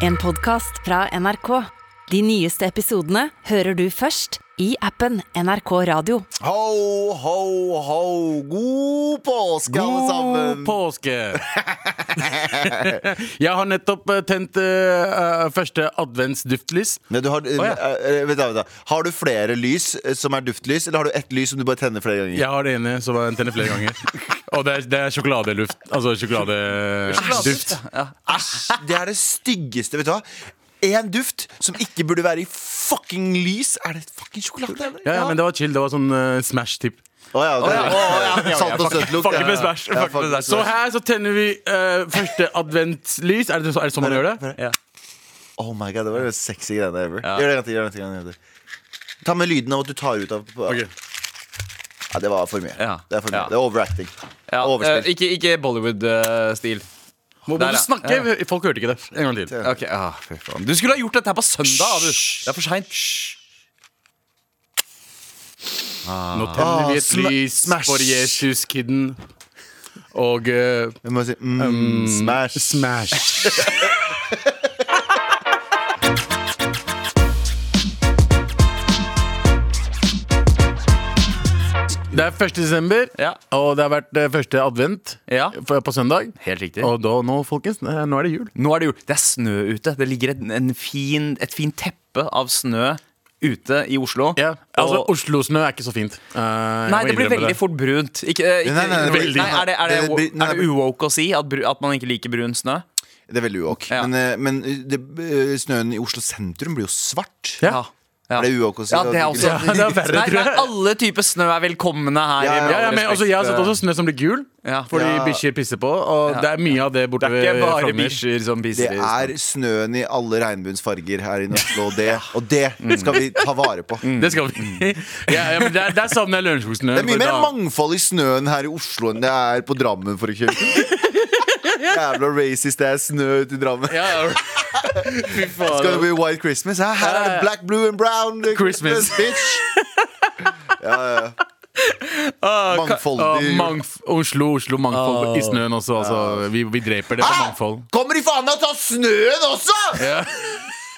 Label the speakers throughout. Speaker 1: En podcast fra NRK. De nyeste episodene hører du først i appen NRK Radio.
Speaker 2: Ho, ho, ho. God påske, alle sammen.
Speaker 3: God påske! jeg har nettopp eh, tent eh, eh, første adventsduftlys.
Speaker 2: Men du har,
Speaker 3: ja.
Speaker 2: eh, eh, vent da, vent da. har du flere lys eh, som er duftlys, eller har du ett lys som du bare tenner flere ganger?
Speaker 3: Jeg har det ene som jeg tenner flere ganger. Og det er, det er sjokoladeluft. Altså sjokoladeduft.
Speaker 2: Det er det styggeste, vet du hva? En duft som ikke burde være i fucking lys. Er det fucking sjokolade? eller?
Speaker 3: Ja, ja, men det var chill. Det var sånn eh, Smash-tipp.
Speaker 2: Å ja, det er- å, ja. Salt og søt lukt.
Speaker 3: Fuck
Speaker 2: ja.
Speaker 3: med Smash.
Speaker 2: Ja,
Speaker 3: Fuck
Speaker 2: fuck med
Speaker 3: med Smash. Så her så tenner vi eh, første adventslys. Er det, så- er det sånn man gjør det? Ja.
Speaker 2: Oh my god, det var det sexy greiene ever. Gjør det en gang til. gjør det en gang til, gjør det en gang til. Ta med lyden av at du tar ut av
Speaker 3: Ok.
Speaker 2: ja, Det var for mye.
Speaker 4: Ja.
Speaker 2: Det er for mye.
Speaker 4: Ja.
Speaker 2: Det er overacting.
Speaker 4: Ja,
Speaker 2: Overspilt.
Speaker 4: eh, ikke ikke Bollywood-stil.
Speaker 3: Må
Speaker 4: Der,
Speaker 3: bare
Speaker 4: ja.
Speaker 3: snakke. Folk hørte ikke det. En gang til.
Speaker 4: Ok, ah, fy faen Du skulle ha gjort dette her på søndag. Du. Det er for seint.
Speaker 3: Nå tenner vi et
Speaker 2: sma-
Speaker 3: lys
Speaker 2: Smash.
Speaker 3: for Jesus-kidden. Og eh,
Speaker 2: Jeg må si mm, smash.
Speaker 3: Smash. Det er 1. desember,
Speaker 4: Ja.
Speaker 3: og det har vært eh, første advent
Speaker 4: Ja.
Speaker 3: f- på søndag.
Speaker 4: Helt riktig.
Speaker 3: Og da, nå, folkens, eh, nå er det jul.
Speaker 4: Nå er det jul. Det er snø ute. Det ligger et, en fin, et fint teppe av snø ute i Oslo.
Speaker 3: Altså,
Speaker 4: og,
Speaker 3: Oslo-snø er ikke så fint. Eh, jeg
Speaker 4: nei,
Speaker 3: må
Speaker 4: det blir
Speaker 3: innrømme
Speaker 4: veldig fort brunt. Ikke, eh, ikke,
Speaker 2: Nei, nei, nei,
Speaker 3: veldig.
Speaker 4: er, det, er, det,
Speaker 2: Det blir- nei,
Speaker 4: er det uwoke å si at, bru- at man ikke liker brun snø?
Speaker 2: Det er veldig uok.
Speaker 4: Ja.
Speaker 2: Men, eh, men det, eh, snøen i Oslo sentrum blir jo svart.
Speaker 3: Ja.
Speaker 4: Ja.
Speaker 2: Er det uwoke å si
Speaker 4: Ja,
Speaker 2: at
Speaker 4: det
Speaker 2: du-
Speaker 4: er også
Speaker 3: Ja, det er verre,
Speaker 4: nei,
Speaker 3: tror jeg.
Speaker 4: nei, alle typer snø er velkomne her.
Speaker 2: Ja, ja,
Speaker 3: Ja,
Speaker 4: med
Speaker 3: ja,
Speaker 4: all
Speaker 3: men
Speaker 4: respekt.
Speaker 3: altså, jeg har sett også snø som blir gul,
Speaker 4: Ja.
Speaker 3: fordi
Speaker 2: Ja.
Speaker 3: bikkjer pisser på. Og det er mye av det borte
Speaker 4: Det er ikke bare
Speaker 3: Frogner.
Speaker 4: bikkjer som
Speaker 2: Det
Speaker 4: pisser i snø.
Speaker 2: er snøen i alle regnbuens farger her i Oslo, og det, og det skal vi ta vare på. Det
Speaker 3: Det skal vi. ja, ja, men der, der savner jeg lunsjboksnø.
Speaker 2: er mye mer mangfold i snøen her i Oslo enn det er på Drammen, for eksempel. Jævla racist det er snø ute i Drammen.
Speaker 3: Ja, ja. Fy faen.
Speaker 2: Skal det bli White Christmas? Hæ? Her er det black, blue and brown eh,
Speaker 3: Christmas.
Speaker 2: Christmas, bitch! Ja, ja.
Speaker 3: Å,
Speaker 2: Mangfoldig.
Speaker 3: mangf- Oslo, Oslo, mangfold i snøen også. Altså, vi, vi dreper det på
Speaker 2: Hæ?
Speaker 3: mangfold.
Speaker 2: Ah, Kommer de faen meg og tar snøen også?!
Speaker 3: Ja.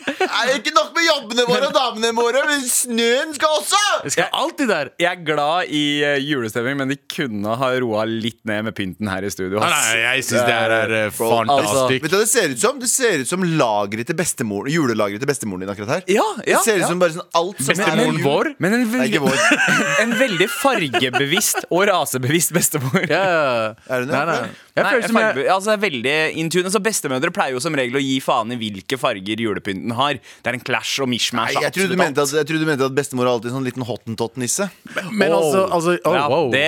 Speaker 2: Er det ikke nok med jobbene våre og damene våre, men snøen skal også!
Speaker 3: Det skal alltid der.
Speaker 4: Jeg er glad i eh, julestemning, men de kunne ha roa litt ned med pynten her i studio.
Speaker 3: Nei,
Speaker 4: ass.
Speaker 3: nei, jeg syns det her er eh,
Speaker 2: Bro,
Speaker 3: fantastisk.
Speaker 2: Altså, Vet du hva det ser ut som? Det ser ut som lageret til bestemor, julelageret til bestemoren din akkurat her.
Speaker 4: Ja, ja,
Speaker 2: det ser ut
Speaker 4: ja.
Speaker 2: som bare sånn alt som
Speaker 3: Bestemoren
Speaker 2: er
Speaker 3: vår?
Speaker 4: Men en
Speaker 2: Nei,
Speaker 4: veldig,
Speaker 2: ikke vår.
Speaker 4: en veldig fargebevisst og rasebevisst bestemor.
Speaker 3: Ja, ja.
Speaker 2: Er det det?
Speaker 3: Nei, nei. Jeg
Speaker 4: Nei,
Speaker 3: føler som
Speaker 4: fargebe-
Speaker 3: jeg
Speaker 4: altså, jeg er veldig intune, så Bestemødre pleier jo som regel å gi faen i hvilke farger julepynten har. Det er en clash og mishmash.
Speaker 2: Nei, jeg trodde, du
Speaker 4: absolutt alt.
Speaker 2: mente at, jeg trodde du mente at bestemor er alltid en sånn liten hottentott-nisse.
Speaker 3: Men altså, altså oh,
Speaker 4: Ja,
Speaker 3: wow.
Speaker 4: det,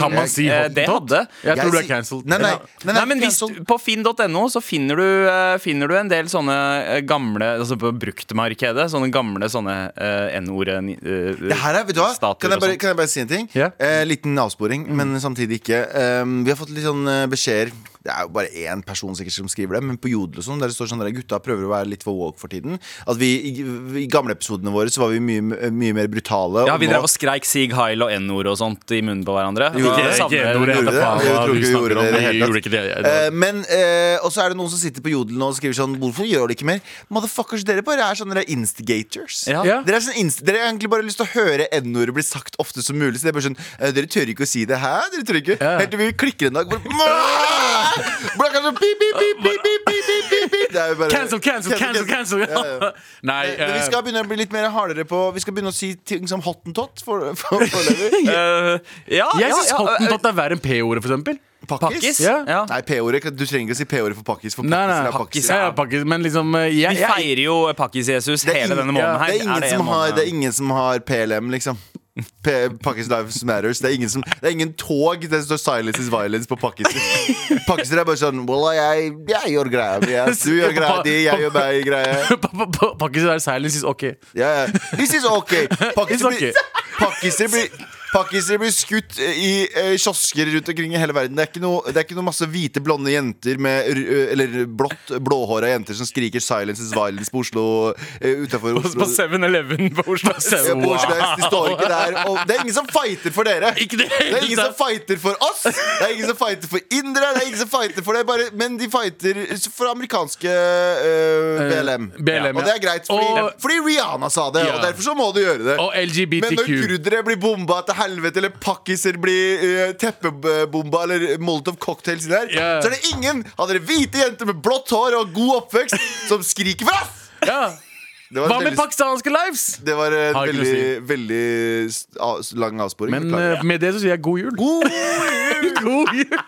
Speaker 3: Kan man si
Speaker 4: eh, det
Speaker 3: hottentott?
Speaker 4: hadde.
Speaker 3: Jeg tror du er
Speaker 2: sier-
Speaker 3: cancelled.
Speaker 2: Nei, nei,
Speaker 3: Ja.
Speaker 2: nei, nei,
Speaker 4: Nei, men hvis,
Speaker 2: cancelled.
Speaker 4: På finn.no så finner du, eh, finner du en del sånne eh, gamle altså På bruktmarkedet. Sånne gamle sånne eh, N-ordet
Speaker 2: Det her er, vet du hva? Kan jeg bare, kan jeg bare si en ting?
Speaker 3: Ja.
Speaker 2: Eh, liten avsporing,
Speaker 4: Mm.
Speaker 2: men samtidig ikke. Um, vi har fått litt sånn eh, beskjeder. Det er jo bare én person sikkert som skriver det, men på Jodel og sånn, der det står sånn der gutta prøver å være litt for woke for tiden. At vi, i, I gamle episodene våre så var vi mye, mye mer brutale.
Speaker 4: Ja,
Speaker 2: og
Speaker 4: vi
Speaker 2: nå-
Speaker 4: drev og skreik Sig Heil og N-ord og sånt i munnen på hverandre.
Speaker 2: Jo,
Speaker 4: Da
Speaker 3: Ikke- ikke
Speaker 4: savner jeg-
Speaker 3: N-ordet, jeg
Speaker 2: Gjorde
Speaker 3: vet
Speaker 2: det?
Speaker 3: faen
Speaker 2: Jeg
Speaker 3: hva
Speaker 2: tror
Speaker 3: du
Speaker 2: ikke vi
Speaker 3: snakker
Speaker 2: gjorde det i
Speaker 3: om.
Speaker 2: det hele
Speaker 3: Vi
Speaker 2: tatt.
Speaker 3: gjorde ikke det. jeg-
Speaker 2: Eh, men, eh, Og så er det noen som sitter på Jodel nå og skriver sånn Hvorfor gjør dere ikke mer? Motherfuckers, dere bare er sånne der instigators.
Speaker 4: Ja.
Speaker 3: Ja.
Speaker 2: Dere, er sånn inst dere har egentlig bare lyst til å høre N-ordet bli sagt ofte som mulig. Så det er bare sånn eh, Dere tør ikke å si det. Hæ? Dere tør ikke?
Speaker 3: Ja.
Speaker 2: Helt til vi klikker en dag. Bare, Blakka sånn pip, pip, pip, pip, pip, pip, pip, pip, pip. Det er jo bare-
Speaker 3: Cancel, cancel, cancel! cancel.
Speaker 2: Ja, ja.
Speaker 3: Nei,
Speaker 2: Men vi
Speaker 3: eh,
Speaker 2: skal begynne å bli litt mer hardere på Vi skal begynne å si ting som hottentott. For, for, foreløpig.
Speaker 4: Eh, ja,
Speaker 3: jeg
Speaker 4: ja,
Speaker 3: syns
Speaker 4: ja, eh,
Speaker 3: hottentott er verre enn p-ordet, for eksempel.
Speaker 4: Pakkis?
Speaker 3: Ja.
Speaker 4: Ja.
Speaker 2: Nei, P-ordet. Du trenger ikke å si P-ordet for pakkis. For
Speaker 3: Nei,
Speaker 2: pakkis
Speaker 3: nei,
Speaker 2: er pakkis.
Speaker 3: Ja, ja, pakkis, men liksom eh,
Speaker 4: Vi
Speaker 3: jeg, jeg,
Speaker 4: feirer jo Pakkis-Jesus
Speaker 2: er
Speaker 4: hele
Speaker 2: ingen-
Speaker 4: denne måneden her.
Speaker 2: Det er ingen,
Speaker 4: en
Speaker 2: som har,
Speaker 4: måned?
Speaker 2: det er ingen som har PLM, liksom. P Pakkis Lives Matters. Det er ingen, som, det er ingen tog der det står 'Silence is violence' på pakkiser. Pakkiser er bare sånn Well, jeg, jeg gjør greia mi. jeg. Du gjør greia di, jeg gjør meg greia.
Speaker 3: Pa- pa- pa- Pakkis er silence is ok.
Speaker 2: Ja, ja. This is okay. Pakkiser
Speaker 3: It's okay.
Speaker 2: blir, pakkiser blir Pakkisere blir skutt eh, i eh, kiosker rundt omkring i hele verden. Det er ikke noe, det er ikke noe masse hvite, blonde jenter med r- eh, Eller blått, blåhåra jenter som skriker 'Silence is violence' på Oslo eh, utenfor Oslo.
Speaker 5: På 7-Eleven på Oslo
Speaker 2: Ja, på
Speaker 5: Wow.
Speaker 2: Oslo S. De står ikke der. Og det er ingen som fighter for dere.
Speaker 3: Ikke det
Speaker 2: Det er
Speaker 3: hele
Speaker 2: ingen som fighter for oss. Det er ingen som fighter for indere. Det er ingen som fighter for det bare, Men de fighter for amerikanske
Speaker 3: Eh,
Speaker 2: øh, BLM.
Speaker 3: BLM,
Speaker 2: Og det er greit, fordi,
Speaker 3: Og-
Speaker 2: fordi Rihanna sa det. Og
Speaker 3: Ja.
Speaker 2: derfor så må du gjøre det.
Speaker 3: Og
Speaker 2: Men når
Speaker 3: LGBTQ.
Speaker 2: kurdere blir bomba til helvete, eller pakkiser blir øh, teppebomba, eller Molotov cocktails der,
Speaker 3: Ja.
Speaker 2: så er det ingen av dere hvite jenter med blått hår og god oppvekst som skriker for oss!
Speaker 3: Ja.
Speaker 2: Det var
Speaker 3: Hva
Speaker 2: veldig-
Speaker 3: med pakistanske lives?
Speaker 2: det var en
Speaker 3: Har ikke noe å
Speaker 2: veldig, veldig s- av- s- lang avsporing.
Speaker 3: Men
Speaker 2: beklager.
Speaker 3: eh, med det så sier jeg god jul. God jul!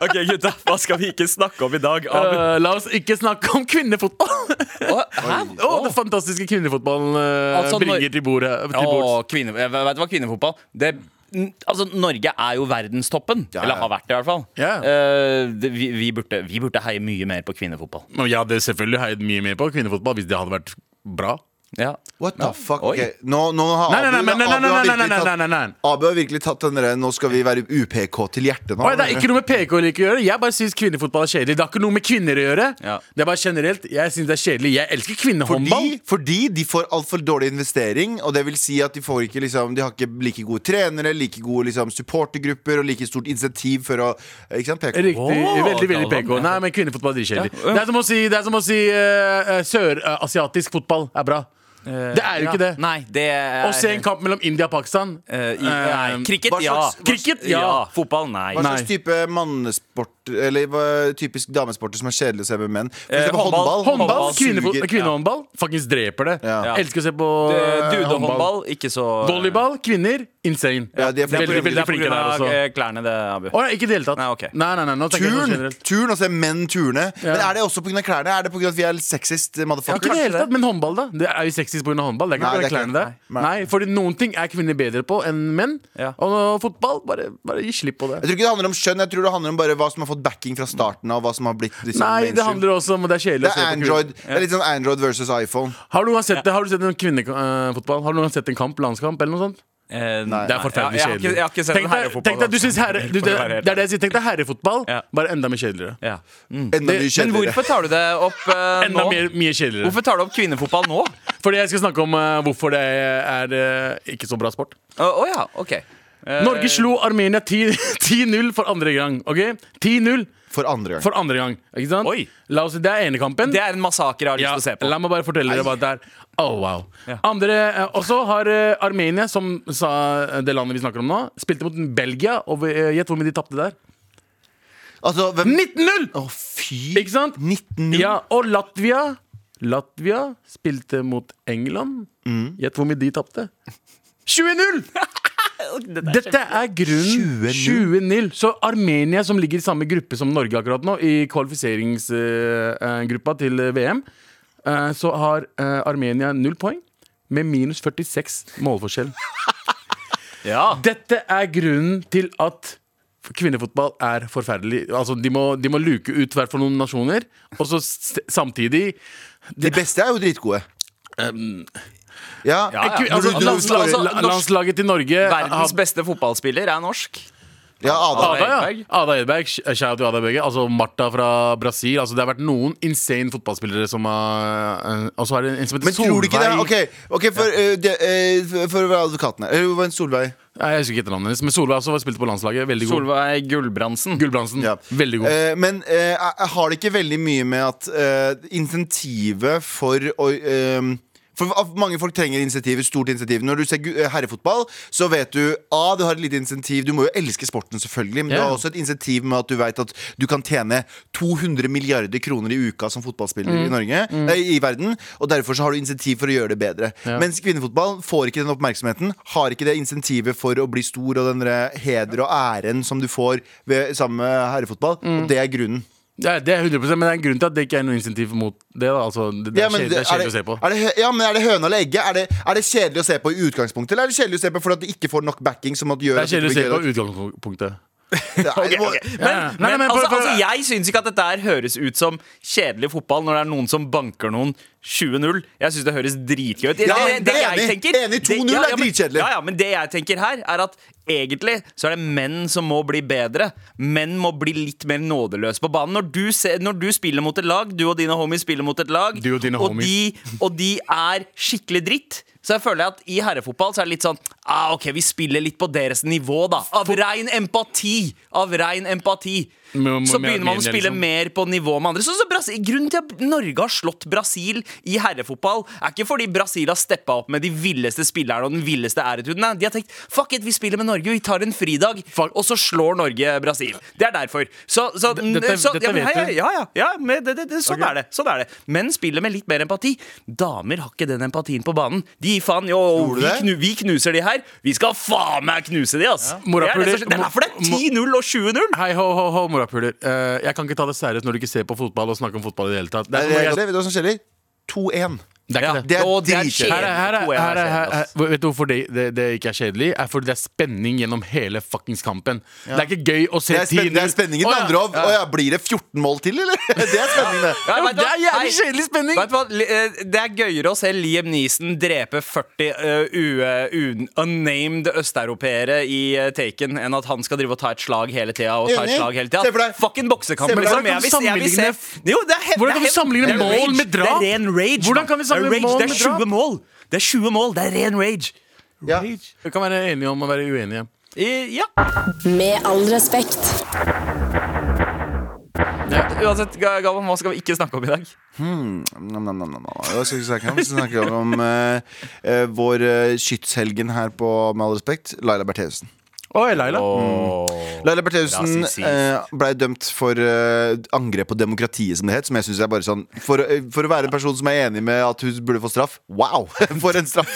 Speaker 4: Ok, gutta, hva skal vi ikke snakke om i dag? Abu?
Speaker 3: Eh, la oss ikke snakke om kvinnefotball.
Speaker 5: Hæ?
Speaker 3: Å, Den fantastiske kvinnefotballen eh,
Speaker 4: Altså, når-
Speaker 3: bringer til bordet. Til bords.
Speaker 4: Åh, kvinne, jeg vet du hva kvinnefotball det, n- Altså, Norge er jo verdenstoppen.
Speaker 2: Ja, ja.
Speaker 4: Eller har vært det, i hvert fall.
Speaker 3: Ja.
Speaker 4: Eh, det, vi, vi, burde, vi burde heie mye mer på kvinnefotball.
Speaker 3: Men Jeg hadde selvfølgelig heiet mye mer på kvinnefotball hvis det hadde vært bra.
Speaker 4: Ja.
Speaker 2: What the fuck?
Speaker 4: Oi.
Speaker 2: ok. Nå, nå har
Speaker 3: Nei, nei, nei,
Speaker 2: Abu-
Speaker 3: nei, nei,
Speaker 2: Abu har
Speaker 3: nei, nei, nei,
Speaker 2: virkelig
Speaker 3: nei,
Speaker 2: tatt-
Speaker 3: nei, nei, nei.
Speaker 2: Abu har virkelig tatt den der 'nå skal vi være UPK til hjertet' nå.
Speaker 3: Oi, det er ikke noe med PK eller ikke å gjøre. Jeg bare syns kvinnefotball er kjedelig. Det har ikke noe med kvinner å gjøre.
Speaker 4: Ja.
Speaker 3: Det er bare generelt. Jeg syns det er kjedelig. Jeg elsker kvinnehåndball.
Speaker 2: fordi, fordi de får altfor dårlig investering, og det vil si at de, får ikke, liksom, de har ikke like gode trenere, like gode liksom, supportergrupper og like stort insentiv for å Ikke sant? PK.
Speaker 3: Riktig.
Speaker 4: Åh,
Speaker 3: veldig veldig
Speaker 4: Galvan,
Speaker 3: PK.
Speaker 4: ja.
Speaker 3: Nei, men kvinnefotball er dritkjedelig. Det er som å si, det er som å si eh, eh, sørasiatisk fotball er bra. Det er jo
Speaker 4: Eh, Ja.
Speaker 3: ikke det.
Speaker 4: Nei, det er
Speaker 3: Å se en kamp mellom India og Pakistan
Speaker 4: Eh, i,
Speaker 3: Eh,
Speaker 4: nei, cricket,
Speaker 2: hva
Speaker 4: ja.
Speaker 2: slags-
Speaker 3: Cricket, ja.
Speaker 4: Fotball, nei.
Speaker 2: Hva
Speaker 3: Nei.
Speaker 2: slags type mannesport Eller hva- typisk damesporter som er kjedelig å se med menn? For
Speaker 4: Eh,
Speaker 2: eksempel
Speaker 4: håndball.
Speaker 3: Håndball,
Speaker 4: Håndball
Speaker 3: kvinnefot-
Speaker 2: suger.
Speaker 3: kvinnehåndball, fuckings dreper det.
Speaker 2: Ja.
Speaker 3: Elsker å se på
Speaker 4: Eh,
Speaker 3: eh,
Speaker 4: Dudehåndball, ikke så
Speaker 3: Volleyball, kvinner, insane.
Speaker 2: Ja, de er
Speaker 4: Det er på
Speaker 3: veldig,
Speaker 4: grunn- det
Speaker 3: veldig
Speaker 4: er på
Speaker 3: flinke
Speaker 4: grunn
Speaker 3: der
Speaker 4: av
Speaker 3: også.
Speaker 4: eh, klærne, det, Abu.
Speaker 3: Å, nei, ikke i det hele tatt.
Speaker 4: Nei, ok.
Speaker 3: Nei, nei, nei, nå tenker jeg sånn
Speaker 2: Turn,
Speaker 3: generelt.
Speaker 2: turn, altså menn turne. Men
Speaker 3: Ja.
Speaker 2: er det også pga. klærne? Er det pga. at vi er sexist eh,
Speaker 3: Ja, ikke i
Speaker 2: motherfucker?
Speaker 3: det
Speaker 4: kanskje
Speaker 3: hele tatt, Men håndball, da? Det er jo sexist pga. håndball. Det er
Speaker 2: Nei,
Speaker 3: ikke bare
Speaker 2: det er ikke
Speaker 3: klærne
Speaker 2: det.
Speaker 3: der.
Speaker 2: Nei.
Speaker 3: Nei. fordi noen ting er kvinner bedre på enn menn.
Speaker 4: Ja.
Speaker 3: Og nå fotball, bare, bare gi slipp på det.
Speaker 2: Jeg tror ikke det handler om skjønn, jeg tror det handler om bare hva som har fått backing fra starten av. Hva som har blitt
Speaker 4: Sånn
Speaker 2: liksom,
Speaker 3: Nei, det
Speaker 2: mainstream.
Speaker 3: handler også om det er kjedelig
Speaker 2: det
Speaker 3: å se
Speaker 2: er
Speaker 3: på
Speaker 2: Android. Det er litt sånn Android versus iPhone.
Speaker 3: kvinner. Har du noen gang sett, det? Har du sett en kvinnefotball? Har du noen gang sett en kamp, landskamp eller noe sånt?
Speaker 4: Eh,
Speaker 2: Nei.
Speaker 3: Det er forferdelig
Speaker 4: Ja, jeg har ikke-
Speaker 3: kjedelig.
Speaker 4: jeg har ikke sett
Speaker 3: Tenk
Speaker 4: en
Speaker 3: deg-
Speaker 4: herrefotball, altså.
Speaker 3: Tenk deg, du synes herre, du, det,
Speaker 4: være helt
Speaker 3: det er det jeg sier. Tenk deg herrefotball,
Speaker 4: Ja.
Speaker 3: bare enda mer kjedeligere.
Speaker 4: Ja.
Speaker 2: Enda
Speaker 3: Mm.
Speaker 2: mye
Speaker 4: Men
Speaker 2: kjedeligere.
Speaker 4: hvorfor tar du det opp eh,
Speaker 3: Enda
Speaker 4: nå?
Speaker 3: mer, mye kjedeligere.
Speaker 4: Hvorfor tar du opp kvinnefotball nå?
Speaker 3: Fordi jeg skal snakke om eh, hvorfor det er eh, ikke så bra sport.
Speaker 4: Å å ja, OK. Eh,
Speaker 3: Norge slo Armenia 10 10-0 for andre gang. Ok? 10-0
Speaker 2: For andre gang.
Speaker 3: for andre gang. Ikke sant?
Speaker 4: Oi.
Speaker 3: La oss, det er enekampen.
Speaker 4: Det er en massakre jeg har lyst
Speaker 3: ja,
Speaker 4: til å se på.
Speaker 3: la meg bare fortelle dere hva det er. Oh, wow. Andre, eh, og så har eh, Armenia, som sa eh, det landet vi snakker om nå, spilte mot Belgia. Og eh, gjett hvor mye de tapte der?
Speaker 2: Altså, hvem
Speaker 3: 19-0!
Speaker 2: Å, fy.
Speaker 3: Ikke sant?
Speaker 2: 19
Speaker 3: Ja, og Latvia Latvia spilte mot England.
Speaker 4: Mm.
Speaker 3: Gjett hvor mye de tapte. 20-0! Dette er grunnen. 20-0. Så Armenia, som ligger i samme gruppe som Norge akkurat nå, i kvalifiseringsgruppa til eh, VM, eh, så har eh, Armenia null poeng. Med minus 46 målforskjell.
Speaker 4: Ja.
Speaker 3: Dette er grunnen til at kvinnefotball er forferdelig. Altså, de må, de må luke ut hvert for noen nasjoner, og så s- samtidig
Speaker 2: De beste er jo dritgode. Ah, ja.
Speaker 4: Ja, ja.
Speaker 3: Ehm, Altså,
Speaker 2: Når du- du-
Speaker 3: landsla- altså,
Speaker 4: norsk-
Speaker 3: landslaget til Norge
Speaker 4: Verdens
Speaker 3: har-
Speaker 4: beste fotballspiller er norsk.
Speaker 2: ja, Ada.
Speaker 3: Ada, ja.
Speaker 4: Edberg.
Speaker 3: Ada Edberg. sh- Shout til Ada Berge. Altså Martha fra Brasil. Altså, det har vært noen insane fotballspillere som har eh, Og så er det en som heter
Speaker 2: Men tror du ikke det?
Speaker 3: Solveig.
Speaker 2: OK, ok, for, eh, det, eh, for- for å være advokaten her. Eh, Hva er Solveig?
Speaker 3: Nei, Jeg husker ikke etternavnet hennes, men Solveig også var spilt på landslaget. Veldig god.
Speaker 4: Solveig Gulbrandsen.
Speaker 3: Gulbrandsen.
Speaker 2: Ja.
Speaker 3: Veldig god.
Speaker 2: Eh, men eh, jeg- jeg har det ikke veldig mye med at eh, insentivet for å eh, for at Mange folk trenger insentiv, stort insentiv. Når du ser gu- eh, herrefotball, så vet du A, du har et lite insentiv. Du må jo elske sporten, selvfølgelig, men du
Speaker 3: Ja.
Speaker 2: har også et insentiv med at du vet at du kan tjene 200 milliarder kroner i uka som fotballspiller i Norge eh, i verden. Og derfor så har du insentiv for å gjøre det bedre. Mens kvinnefotball får ikke den oppmerksomheten. Har ikke det insentivet for å bli stor og den der heder og æren som du får ved, sammen med herrefotball. Og det er grunnen.
Speaker 3: Det er, det er 100 men det er en grunn til at det ikke er noe insentiv mot det. Da. Altså, det, det
Speaker 2: Ja,
Speaker 3: er
Speaker 2: men
Speaker 3: kjedelig- det er
Speaker 2: er det-
Speaker 3: kjedelig å se på.
Speaker 2: Er det, hø- ja, men er det høna eller egget? Er det, er det kjedelig å se på i utgangspunktet, eller er det kjedelig å se på fordi at det ikke får nok backing? Som at gjør
Speaker 3: Det
Speaker 2: at
Speaker 3: er kjedelig å
Speaker 2: ikke
Speaker 3: se
Speaker 2: blir
Speaker 3: på
Speaker 2: gøy nok?
Speaker 3: utgangspunktet.
Speaker 2: Nei, det må-
Speaker 4: Men,
Speaker 3: Ja, ja. Nei,
Speaker 4: men,
Speaker 3: nei, men for-
Speaker 4: altså,
Speaker 3: for-
Speaker 4: altså, jeg syns ikke at dette her høres ut som kjedelig fotball når det er noen som banker noen 20-0. Jeg syns det høres dritgøy ut. Det-
Speaker 2: Ja,
Speaker 4: det- det
Speaker 2: det er
Speaker 4: jeg
Speaker 2: enig.
Speaker 4: tenker-
Speaker 2: Enig, 2-0
Speaker 4: det- ja,
Speaker 2: er
Speaker 4: ja, men-
Speaker 2: dritkjedelig.
Speaker 4: Ja, ja, men det jeg tenker her, er at egentlig så er det menn som må bli bedre. Menn må bli litt mer nådeløse på banen. Når du, ser, når du spiller mot et lag, du og dine homies spiller mot et lag,
Speaker 6: Du og dine homies.
Speaker 4: de, og de er skikkelig dritt. Så jeg føler at i herrefotball så er det litt sånn ah, OK, vi spiller litt på deres nivå, da. Av rein empati. Av rein empati.
Speaker 6: Men- men-
Speaker 4: Så
Speaker 6: men-
Speaker 4: begynner man
Speaker 6: men-
Speaker 4: å spille
Speaker 6: liksom.
Speaker 4: mer på nivå med andre. Sånn som Brasil, grunnen til at Norge har slått Brasil i herrefotball, er ikke fordi Brasil har steppa opp med de villeste spillerne og den villeste æretuden. Nei, de har tenkt fuck it, vi spiller med Norge, vi tar en fridag, og så slår Norge Brasil. Det er derfor. Så, så,
Speaker 6: dette-
Speaker 4: så
Speaker 6: dette
Speaker 4: ja, men,
Speaker 6: vet
Speaker 4: hei,
Speaker 6: vi.
Speaker 4: hei, ja, ja, ja men det, det, det, sånn,
Speaker 6: Ok.
Speaker 4: er det, sånn er det. Menn spiller med litt mer empati. Damer har ikke den empatien på banen. De gir faen jo,
Speaker 2: Tror du
Speaker 4: vi,
Speaker 2: det?
Speaker 4: knu, vi knuser de her. Vi skal faen meg knuse de, ass! Det er,
Speaker 6: Morapuler,
Speaker 4: det, som- det er derfor det er
Speaker 6: mo-
Speaker 4: 10-0 og 20-0.
Speaker 6: Hei, ho, ho, ho, morapuler. Eh, jeg kan ikke ta det seriøst når du ikke ser på fotball og snakker om fotball i det hele tatt. Det
Speaker 2: Nei,
Speaker 6: er,
Speaker 2: det er
Speaker 6: det
Speaker 2: det, vet du hva som skjer? 2-1.
Speaker 6: er ikke det.
Speaker 2: Det er
Speaker 4: Og det er
Speaker 2: dritkjedelig.
Speaker 6: Her er, her er,
Speaker 4: To er
Speaker 6: her er, her
Speaker 4: kjedelig,
Speaker 6: er,
Speaker 4: ass.
Speaker 6: vet du hvorfor det, det, det ikke er kjedelig? Er fordi det er spenning gjennom hele fuckings kampen. Det er ikke gøy å se
Speaker 2: Det er, spen det er spenningen det andre av. Å ja, blir det 14 mål til, eller? Det er spenning, det.
Speaker 4: Ja, vet du
Speaker 6: Det er
Speaker 4: hva?
Speaker 6: jævlig
Speaker 4: Hei.
Speaker 6: kjedelig spenning!
Speaker 4: Vet du hva? Li- eh, Det er gøyere å se Liam Neeson drepe 40 eh, u- eh, un- unnamed østeuropeere i eh, Taken enn at han skal drive og ta et slag hele tida. Og ta et
Speaker 2: Enig.
Speaker 4: slag hele
Speaker 2: Se for
Speaker 4: tida
Speaker 2: deg.
Speaker 4: Fucking boksekamp,
Speaker 2: Se for deg.
Speaker 4: liksom.
Speaker 6: Hvordan
Speaker 4: Jeg
Speaker 6: kan du
Speaker 4: vil, jeg vil se
Speaker 6: sammenligne-
Speaker 4: jo, det er, he-
Speaker 6: Hvordan kan du
Speaker 4: det er he-
Speaker 6: sammenligne
Speaker 4: det er
Speaker 6: mål
Speaker 4: rage.
Speaker 6: med drap?
Speaker 4: Det er ren rage.
Speaker 6: Hvordan
Speaker 4: mann.
Speaker 6: kan vi
Speaker 4: Det
Speaker 6: sammenligne
Speaker 4: er rage.
Speaker 6: mål
Speaker 4: Det
Speaker 6: med
Speaker 4: er
Speaker 6: drap?
Speaker 4: 20 mål! Det er 20 mål, det er ren rage.
Speaker 2: Ja.
Speaker 6: Vi kan være enige om å være uenige.
Speaker 4: Eh, Ja.
Speaker 7: Med all respekt.
Speaker 4: Uansett, Ga- Galvan, hva skal vi ikke snakke om i dag?
Speaker 2: Nam, nam, nam, nam, nam. Hva skal vi snakke om? Vi skal snakke om eh, eh, vår eh, skytshelgen her på Med all respekt, Laila Bertheussen.
Speaker 6: Oi, Laila.
Speaker 2: Laila Bertheussen
Speaker 4: Rasistisk.
Speaker 2: eh, ble dømt for eh, angrep på demokratiet, som det het. Som jeg synes er bare sånn for, eh, for å være en person som er enig med at hun burde få straff, wow! For en straff!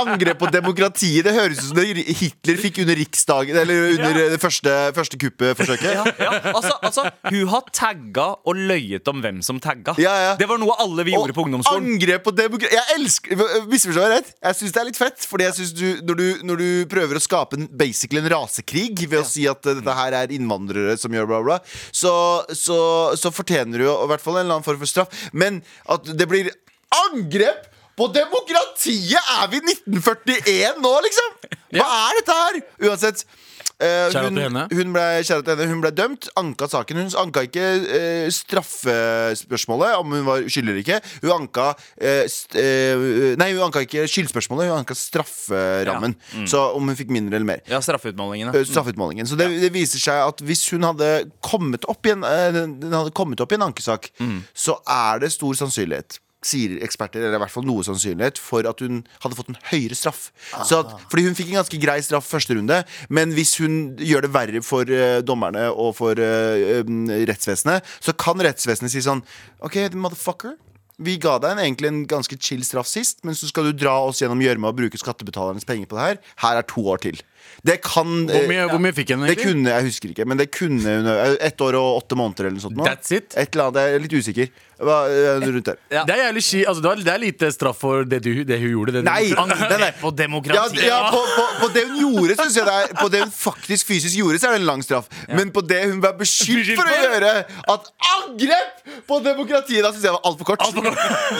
Speaker 2: angrep på demokratiet. Det høres ut som det Hitler fikk under riksdagen Eller under det første, første kuppet-forsøket.
Speaker 4: Ja, ja. Altså, altså, hun har tagga og løyet om hvem som tagga.
Speaker 2: Ja, ja.
Speaker 4: Det var noe alle vi gjorde på ungdomsskolen.
Speaker 2: Angrep på demokrati Jeg elsker Misforstå meg rett. Jeg syns det er litt fett. Fordi jeg synes du, når, du, når du prøver å skape en, basically en rasekrig ved å si at eh, dette her er innvandrere som gjør bla, bla, så, så, så fortjener du jo i hvert fall en eller annen form for straff. Men at det blir angrep på demokratiet! Er vi 1941 nå, liksom? Hva er dette her? Uansett. eh,
Speaker 6: Shout out
Speaker 2: hun,
Speaker 6: til henne.
Speaker 2: hun ble, kjære til henne, hun ble dømt, anka saken. Hun anka ikke eh, straffespørsmålet, om hun var skyldig eller ikke. Hun anka eh, st, eh, Nei, hun anka ikke skyldspørsmålet, hun anka strafferammen. Så om hun fikk mindre eller mer.
Speaker 4: Ja, straffeutmålingene.
Speaker 2: Eh, Straffeutmålingen. Så det, det viser seg at hvis hun hadde kommet opp i en, eh, den den hadde kommet opp i en ankesak, så er det stor sannsynlighet sier eksperter, eller i hvert fall noe sannsynlighet for at hun hadde fått en høyere straff. Så at, fordi hun fikk en ganske grei straff første runde, men hvis hun gjør det verre for eh, dommerne og for eh, em, rettsvesenet, så kan rettsvesenet si sånn OK, motherfucker. Vi ga deg en, egentlig en ganske chill straff sist, men så skal du dra oss gjennom gjørma og bruke skattebetalernes penger på det her. Her er to år til. Det kan
Speaker 6: Hvor
Speaker 2: eh,
Speaker 6: mye, hvor mye fikk hun,
Speaker 2: det
Speaker 6: egentlig?
Speaker 2: kunne, jeg husker ikke, men det kunne hun Eh, Ett år og åtte måneder eller noe sånt nå.
Speaker 6: That's it?
Speaker 2: Et eller annet, jeg er litt usikker Hva, eh, rundt der
Speaker 4: Ja.
Speaker 6: Det er jævlig ski, altså, det, var, det er lite straff for det, du, det hun gjorde. Det du-
Speaker 2: Nei, nei, nei.
Speaker 4: På
Speaker 2: Ja,
Speaker 4: demokrati.
Speaker 2: ja på, på, på det hun gjorde, synes jeg det er På det hun faktisk fysisk gjorde, så er det en lang straff Men på det hun var beskyldt for å gjøre At angrep på demokratiet Da synes jeg var alt for kort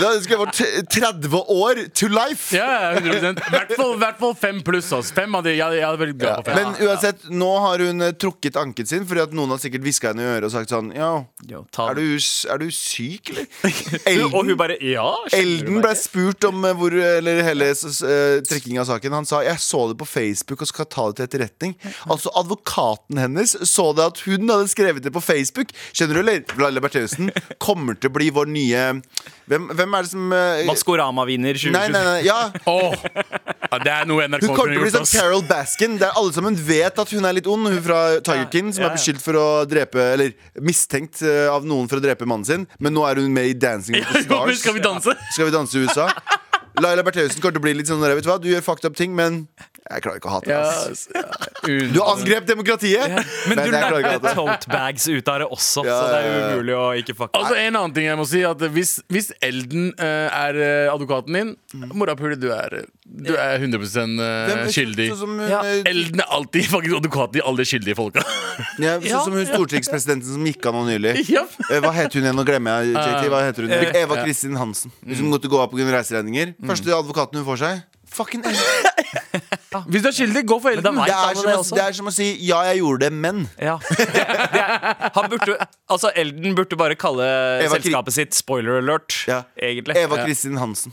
Speaker 2: Da skulle jeg vært t- 30 år to life
Speaker 6: Ja, ja, 100 hvert fall, hvert fall fem pluss. Ass. Fem av de, jeg, jeg hadde vel glad på fem.
Speaker 2: Men uansett, nå har hun eh, trukket anken sin Fordi at noen har sikkert visket henne i øret og sagt sånn Ja,
Speaker 4: Jo, ta
Speaker 2: er
Speaker 4: den.
Speaker 2: du, er du syk, eller?
Speaker 4: Og hun
Speaker 2: Elden
Speaker 4: bare ja. skjønner du
Speaker 2: Elden
Speaker 4: meg
Speaker 2: ble spurt om eh, hvor, eller hele uh, trekking av saken. Han sa jeg så det på Facebook og skal ta det til etterretning. Altså Advokaten hennes så det at hun hadde skrevet det på Facebook. Skjønner du, Le- Laila Bertheussen kommer til å bli vår nye Hvem, hvem er det som eh,
Speaker 4: ikke? Maskorama-vinner
Speaker 2: Nei, nei,
Speaker 4: 2022.
Speaker 2: nei, ja
Speaker 6: Åh, ja, det er noe NRK
Speaker 2: Hun kommer
Speaker 6: kunne
Speaker 2: til å bli
Speaker 6: gjort.
Speaker 2: sånn
Speaker 6: Ass.
Speaker 2: Carol Baskin, der alle sammen vet at hun er litt ond. Hun fra Tiger King, som er beskyldt for å drepe Eller mistenkt eh, av noen for å drepe mannen sin. Men nå er hun med i Dancing with the
Speaker 6: Jo, men
Speaker 2: Stars.
Speaker 6: Skal vi danse?
Speaker 2: Skal vi danse i USA? Laila Bertheussen kommer til å bli litt sånn der, vet du hva, du gjør fucked up ting, men Jeg klarer ikke å hate det.
Speaker 3: Ja,
Speaker 2: ass.
Speaker 3: s- ja,
Speaker 2: Du angrep demokratiet!
Speaker 4: Men
Speaker 2: Nei,
Speaker 4: du
Speaker 2: jeg klarer ikke å hate
Speaker 4: lærte
Speaker 2: det.
Speaker 4: tote bags ut av det også,
Speaker 2: Ja,
Speaker 4: så det
Speaker 2: ja,
Speaker 4: er
Speaker 2: ja.
Speaker 4: umulig å ikke fucke
Speaker 3: Altså En annen ting jeg må si at Hvis, hvis Elden eh, er eh, advokaten din, morapule, du er, du er 100 eh, skyldig.
Speaker 2: Sånn som,
Speaker 4: Ja,
Speaker 2: eh,
Speaker 3: Elden er alltid faktisk advokaten i alle de skyldige folka.
Speaker 2: ja, sånn som hun stortingspresidenten som gikk av nå nylig.
Speaker 3: Ja.
Speaker 2: Eh, Hva het hun igjen? Nå glemmer jeg. JT, hva heter hun? Eva Kristin Hansen. Hun som måtte gå av pga. reiseregninger. Første advokaten hun får seg. Fucking Elden.
Speaker 3: Hvis du er skyldig, gå for
Speaker 4: Men da
Speaker 3: Elden.
Speaker 4: vet
Speaker 2: Det er,
Speaker 4: alle
Speaker 2: som
Speaker 4: det
Speaker 2: å,
Speaker 4: også.
Speaker 2: det er som å si ja, jeg gjorde det, men.
Speaker 4: Ja. Det er, han burde, altså Elden burde bare kalle
Speaker 2: Eva Kri-
Speaker 4: selskapet sitt spoiler alert,
Speaker 2: Ja.
Speaker 4: egentlig.
Speaker 2: Eva Kristin Hansen.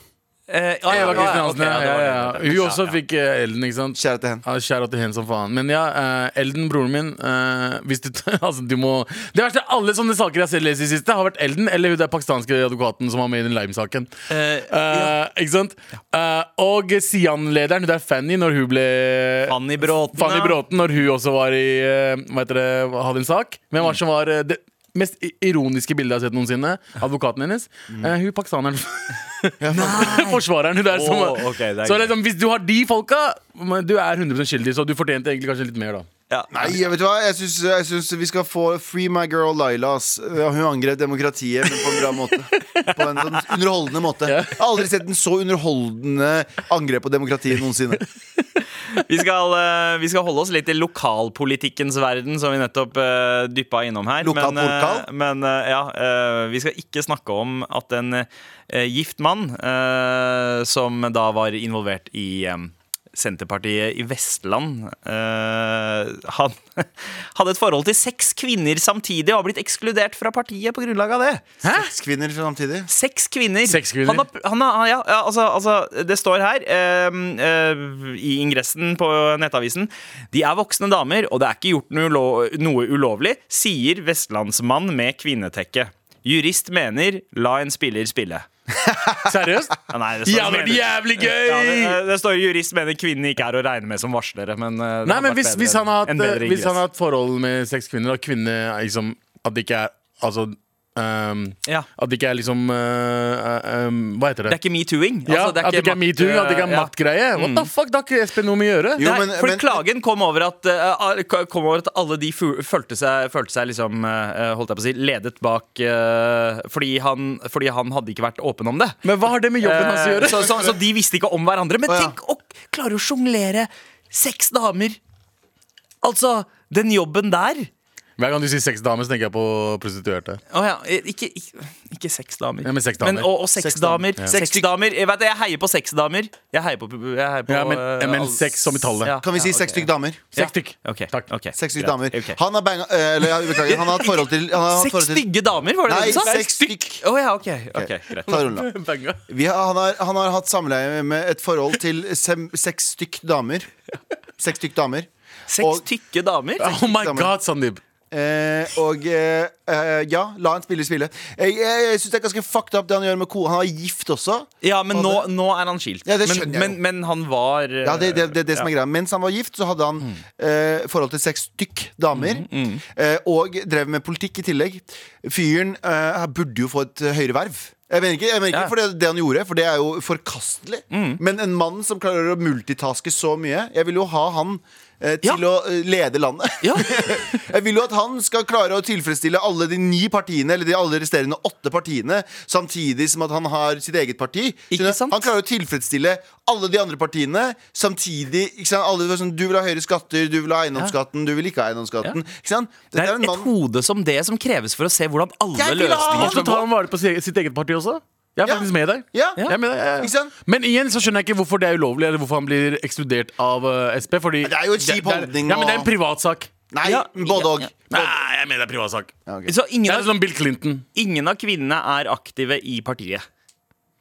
Speaker 4: Eh, ja, ja,
Speaker 3: Eva
Speaker 4: ja,
Speaker 3: Kristin
Speaker 4: ja,
Speaker 3: Hansen,
Speaker 4: ok, ja, det
Speaker 3: ja,
Speaker 4: var det.
Speaker 3: ja, ja. Hun også fikk eh, Elden, ikke sant?
Speaker 2: Kjære til henne.
Speaker 3: Ja, Kjære til hen som faen. Men ja, eh, Elden, broren min eh, hvis du, altså, du må, Det verste av alle sånne saker jeg selv leser i siste, har vært Elden eller hun der pakistanske advokaten som var med i den Lime-saken.
Speaker 4: Eh,
Speaker 3: Eh, Ikke sant? Eh, og Sian-lederen, hun der Fanny, når hun ble
Speaker 4: Fanny Bråten,
Speaker 3: Fanny
Speaker 4: ja.
Speaker 3: Bråten, når hun også var i eh, Hva heter det, hadde en sak. Hvem var det som var eh, det mest i- ironiske bildet jeg har sett noensinne? Advokaten hennes.
Speaker 4: Mm.
Speaker 3: Eh, hun pakistaneren. Forsvareren. Hun der, som,
Speaker 4: Åh, ok, det er
Speaker 3: så
Speaker 4: greit.
Speaker 3: liksom, hvis du har de folka, men du er 100 skyldig, så du fortjente egentlig kanskje litt mer, da.
Speaker 4: Ja.
Speaker 2: Nei, jeg vet du hva? Jeg syns, jeg syns vi skal få Free my girl Laila. ass. Ja, Hun angrep demokratiet, men på en bra måte. På en sånn underholdende måte. Jeg har aldri sett en så underholdende angrep på demokratiet noensinne.
Speaker 4: Vi skal, eh, vi skal holde oss litt i lokalpolitikkens verden, som vi nettopp uh, dyppa innom her.
Speaker 2: Lokal
Speaker 4: men eh,
Speaker 2: portal?
Speaker 4: men eh, ja, eh, vi skal ikke snakke om at en eh, gift mann eh, som da var involvert i eh, Senterpartiet i Vestland eh, Han hadde et forhold til seks kvinner samtidig og har blitt ekskludert fra partiet på grunnlag av det.
Speaker 2: Seks kvinner samtidig.
Speaker 4: Seks kvinner.
Speaker 3: Seks kvinner.
Speaker 4: Han har, pr- han har, ja, ja, altså, altså, det står her ehm, eh, i ingressen på nettavisen De er voksne damer, og det er ikke gjort noe, ulo- noe ulovlig, sier vestlandsmann med kvinnetekke. Jurist mener la en spiller spille.
Speaker 3: Seriøst?
Speaker 4: Ja, Nei, det
Speaker 3: Ja, det hadde vært jævlig gøy!
Speaker 4: Ja, det, det står jurist mener kvinnen ikke er å regne med som varslere. Men, eh, det
Speaker 3: Nei,
Speaker 4: hadde
Speaker 3: men
Speaker 4: vært
Speaker 3: hvis,
Speaker 4: bedre
Speaker 3: hvis, han har
Speaker 4: enn-
Speaker 3: hatt, eh,
Speaker 4: en bedre
Speaker 3: hvis han
Speaker 4: ingress.
Speaker 3: har hatt forhold med seks kvinner, og kvinne er liksom At det ikke er Altså ehm,
Speaker 4: Ja.
Speaker 3: At det ikke er liksom eh, ehm, Hva heter det?
Speaker 4: Det Altså, er ikke metooing.
Speaker 3: ja, at det ikke er
Speaker 4: makt- eh,
Speaker 3: metoo, at det ikke er
Speaker 4: ja. Mm.
Speaker 3: maktgreie. What the fuck, da har ikke Espen noe med å gjøre.
Speaker 2: Jo,
Speaker 4: Nei,
Speaker 2: men-
Speaker 4: fordi
Speaker 2: men-
Speaker 4: klagen kom over at, eh, a- kom over at alle de fu- følte seg, følte seg liksom, eh, holdt jeg på å si, ledet bak eh, fordi, han, fordi han hadde ikke vært åpen om det.
Speaker 3: Men hva har det med jobben hans å
Speaker 4: Eh,
Speaker 3: gjøre?
Speaker 4: så, så, så de visste ikke om hverandre. Men
Speaker 2: Å, ja.
Speaker 4: tenk å klare å sjonglere seks damer! Altså, den jobben der
Speaker 3: Hver gang du sier seks damer, så tenker jeg på prostituerte.
Speaker 4: Å ja, Eh, ikke, ikke, ikke seks damer.
Speaker 3: Ja, men seks damer.
Speaker 4: og, og seks,
Speaker 2: Seks damer.
Speaker 4: damer.
Speaker 2: Ja.
Speaker 4: Seks damer. Jeg, vet, det, jeg heier på seks damer. Jeg heier på, jeg heier på
Speaker 3: Ja, men-
Speaker 4: eh,
Speaker 3: men
Speaker 4: all-
Speaker 3: seks som i tallet.
Speaker 2: Kan vi si
Speaker 4: ja,
Speaker 2: seks
Speaker 4: ok,
Speaker 2: stykk damer?
Speaker 3: Seks stykk.
Speaker 4: Ok,
Speaker 3: Takk.
Speaker 4: ok,
Speaker 2: Seks stykk
Speaker 4: greit.
Speaker 2: damer.
Speaker 4: Ok.
Speaker 2: Han har banga eh, Eller ja, beklager, han har hatt forhold til han har hatt
Speaker 4: Seks
Speaker 2: forhold til-
Speaker 4: stygge damer, var det
Speaker 2: Nei,
Speaker 4: det du sa?
Speaker 2: seks stykk.
Speaker 4: Å ja, ok. ok, greit.
Speaker 2: Ta rulla. Vi har, han, har, han har hatt samleie med et forhold til sem, seks stykk damer. Seks stykk damer.
Speaker 4: Seks
Speaker 2: Og-
Speaker 4: tykke damer?
Speaker 3: Oh my
Speaker 2: Damer.
Speaker 3: god, Sandeep.
Speaker 2: Eh, og eh, eh, ja, la en spiller spille. Jeg, jeg, jeg syns det er ganske fucked up, det han gjør med ko. Han er gift også.
Speaker 4: Ja, men
Speaker 2: Og
Speaker 4: nå,
Speaker 2: det-
Speaker 4: nå er han skilt.
Speaker 2: Ja, det
Speaker 4: men,
Speaker 2: skjønner jeg
Speaker 4: men,
Speaker 2: jo.
Speaker 4: men han var eh,
Speaker 2: Ja, det, det, det, er det som er greia Mens han var gift, så hadde han eh, forhold til seks stykk damer.
Speaker 4: Mm,
Speaker 2: Eh, og drev med politikk i tillegg. Fyren eh, burde jo få et eh, høyere verv. Jeg mener ikke, jeg mener ikke
Speaker 4: Ja. Mm.
Speaker 2: for det, det han gjorde, for det er jo forkastelig. Men en mann som klarer å multitaske så mye Jeg vil jo ha han eh, til
Speaker 4: Ja.
Speaker 2: å eh, lede landet.
Speaker 4: Ja.
Speaker 2: jeg vil jo at han skal klare å tilfredsstille alle de ni partiene, eller de alle resterende åtte partiene, samtidig som at han har sitt eget parti.
Speaker 4: Ikke
Speaker 2: Skjønner du?
Speaker 4: sant?
Speaker 2: Han klarer å tilfredsstille alle de andre partiene samtidig. Ikke sant? Alle, var sånn, du vil ha høyere skatter, du vil ha eiendomsskatten, du vil ikke ha eiendomsskatten. Ikke sant?
Speaker 4: Det
Speaker 2: Dette
Speaker 4: er et hode som det som kreves for å se hvordan alle
Speaker 2: Jeg vil ha
Speaker 4: løsninger
Speaker 2: alt!
Speaker 3: Så tar han vare på sitt sitt eget parti også? Jeg er
Speaker 2: Ah. Ja.
Speaker 3: faktisk med deg.
Speaker 2: Ja.
Speaker 3: Jeg er med deg. jeg-
Speaker 2: Ikke sant?
Speaker 3: Men igjen så skjønner jeg ikke hvorfor det er ulovlig, eller hvorfor han blir ekskludert av eh, SP. Fordi
Speaker 2: Det er jo et kjip
Speaker 3: det er-
Speaker 2: holdning
Speaker 3: Ja, men det er
Speaker 2: og-
Speaker 3: en privatsak.
Speaker 2: Nei,
Speaker 4: Ja,
Speaker 2: både og.
Speaker 4: ja,
Speaker 3: Nei, jeg mener det er privatsak.
Speaker 2: Ja, ok.
Speaker 4: Så
Speaker 3: Det
Speaker 4: ingen
Speaker 3: er
Speaker 4: av,
Speaker 3: sånn Bill Clinton.
Speaker 4: ingen av kvinnene er aktive i partiet.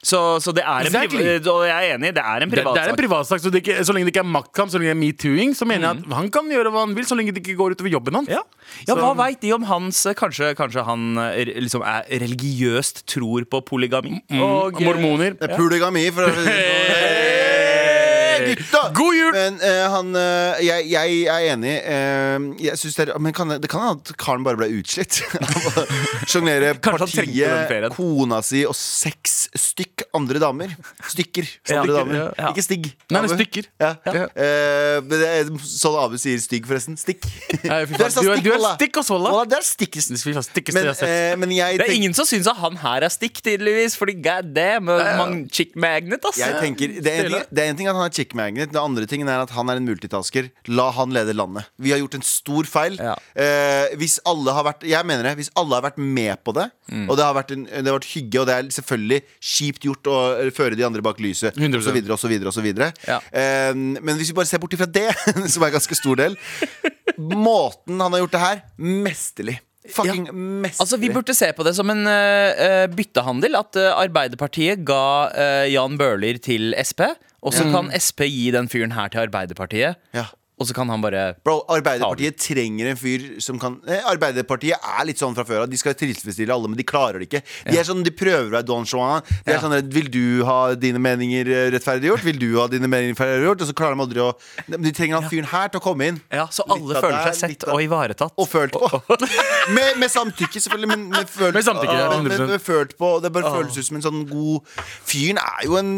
Speaker 4: Så, så det er en
Speaker 3: Exactly.
Speaker 4: priv- og jeg er enig, det er en
Speaker 3: Det, det er en
Speaker 4: privatsak.
Speaker 3: privatsak, så, det ikke, så lenge det ikke er maktkamp, så lenge det er metooing, så mener jeg at han kan gjøre hva han vil, så lenge det ikke går utover jobben hans.
Speaker 4: Mm. Ja. ja, Hva veit de om hans eh, Kanskje, kanskje han eh, re- liksom er religiøst tror på polygami? Og, eh,
Speaker 3: Mormoner.
Speaker 2: Det er Polygami, for å si det sånn. er gutta!
Speaker 4: God jul!
Speaker 2: Men eh, han eh, jeg, jeg er enig. eh, jeg synes det, er, men kan, det kan hende at karen bare ble utslitt. Sjonglere
Speaker 4: Kanskje han trengte den
Speaker 2: partiet,
Speaker 4: ferien.
Speaker 2: kona si og seks stykk andre damer. Stykker. Andre
Speaker 6: Stykker,
Speaker 2: damer.
Speaker 6: ja.
Speaker 2: Ikke stigg.
Speaker 6: Nei, det
Speaker 2: Abu.
Speaker 6: er stykker.
Speaker 2: Ja.
Speaker 6: Ja.
Speaker 2: Eh, men det er sånn Abu sier stygg, forresten. Stikk.
Speaker 6: Nei, fy
Speaker 2: Du
Speaker 6: faen.
Speaker 2: er sånn så
Speaker 6: Du er, du er
Speaker 2: Walla.
Speaker 6: stikk og svolla.
Speaker 2: Walla, det er stikkest.
Speaker 6: Det er stikkeste
Speaker 2: Men,
Speaker 6: jeg har sett.
Speaker 2: eh, men jeg
Speaker 4: Det er
Speaker 2: tenker-
Speaker 4: ingen som syns at han her er stikk, tydeligvis. Fordi god damn, man chick magnet, ass.
Speaker 2: Jeg tenker, det er, en ting, det er en ting at han er chick magnet, det andre tingen er at han er en multitasker. La han lede landet. Vi har gjort en stor feil. Eh, hvis alle har vært Jeg mener det, hvis alle har vært med på det,
Speaker 4: Mm.
Speaker 2: og det har, vært en, det har vært hygge, og det er selvfølgelig kjipt gjort å føre de andre bak lyset,
Speaker 6: 100%.
Speaker 2: osv., osv., osv. Eh, Men hvis vi bare ser bort ifra det, som er en ganske stor del Måten han har gjort det her, mesterlig. Fucking mesterlig.
Speaker 4: Altså, Vi burde se på det som en øh, øh, byttehandel. At øh, Arbeiderpartiet ga øh, Jan Bøhler til Sp. Og så kan Sp gi den fyren her til Arbeiderpartiet.
Speaker 2: Ja.
Speaker 4: Og så kan han bare
Speaker 2: Bro, Arbeiderpartiet trenger en fyr som kan eh, Arbeiderpartiet er litt sånn fra før av. De skal tilfredsstille alle, men de klarer det ikke. De er sånn, de prøver å være Don Juan. De er sånn redd, Vil du ha dine meninger eh, rettferdiggjort? Vil du ha dine meninger rettferdiggjort? Og så klarer de aldri å Nei, Men de trenger han fyren her til å komme inn.
Speaker 4: Ja, Så
Speaker 2: Litt
Speaker 4: alle
Speaker 2: av
Speaker 4: føler
Speaker 2: der,
Speaker 4: seg
Speaker 2: litt
Speaker 4: sett
Speaker 2: av-
Speaker 4: og ivaretatt.
Speaker 2: og følt på. med, med samtykke, selvfølgelig. Men med, følt,
Speaker 6: Med samtykke, ja,
Speaker 2: men, men,
Speaker 6: 100%.
Speaker 2: men følt på. Det bare føles ut som en sånn god Fyren er jo en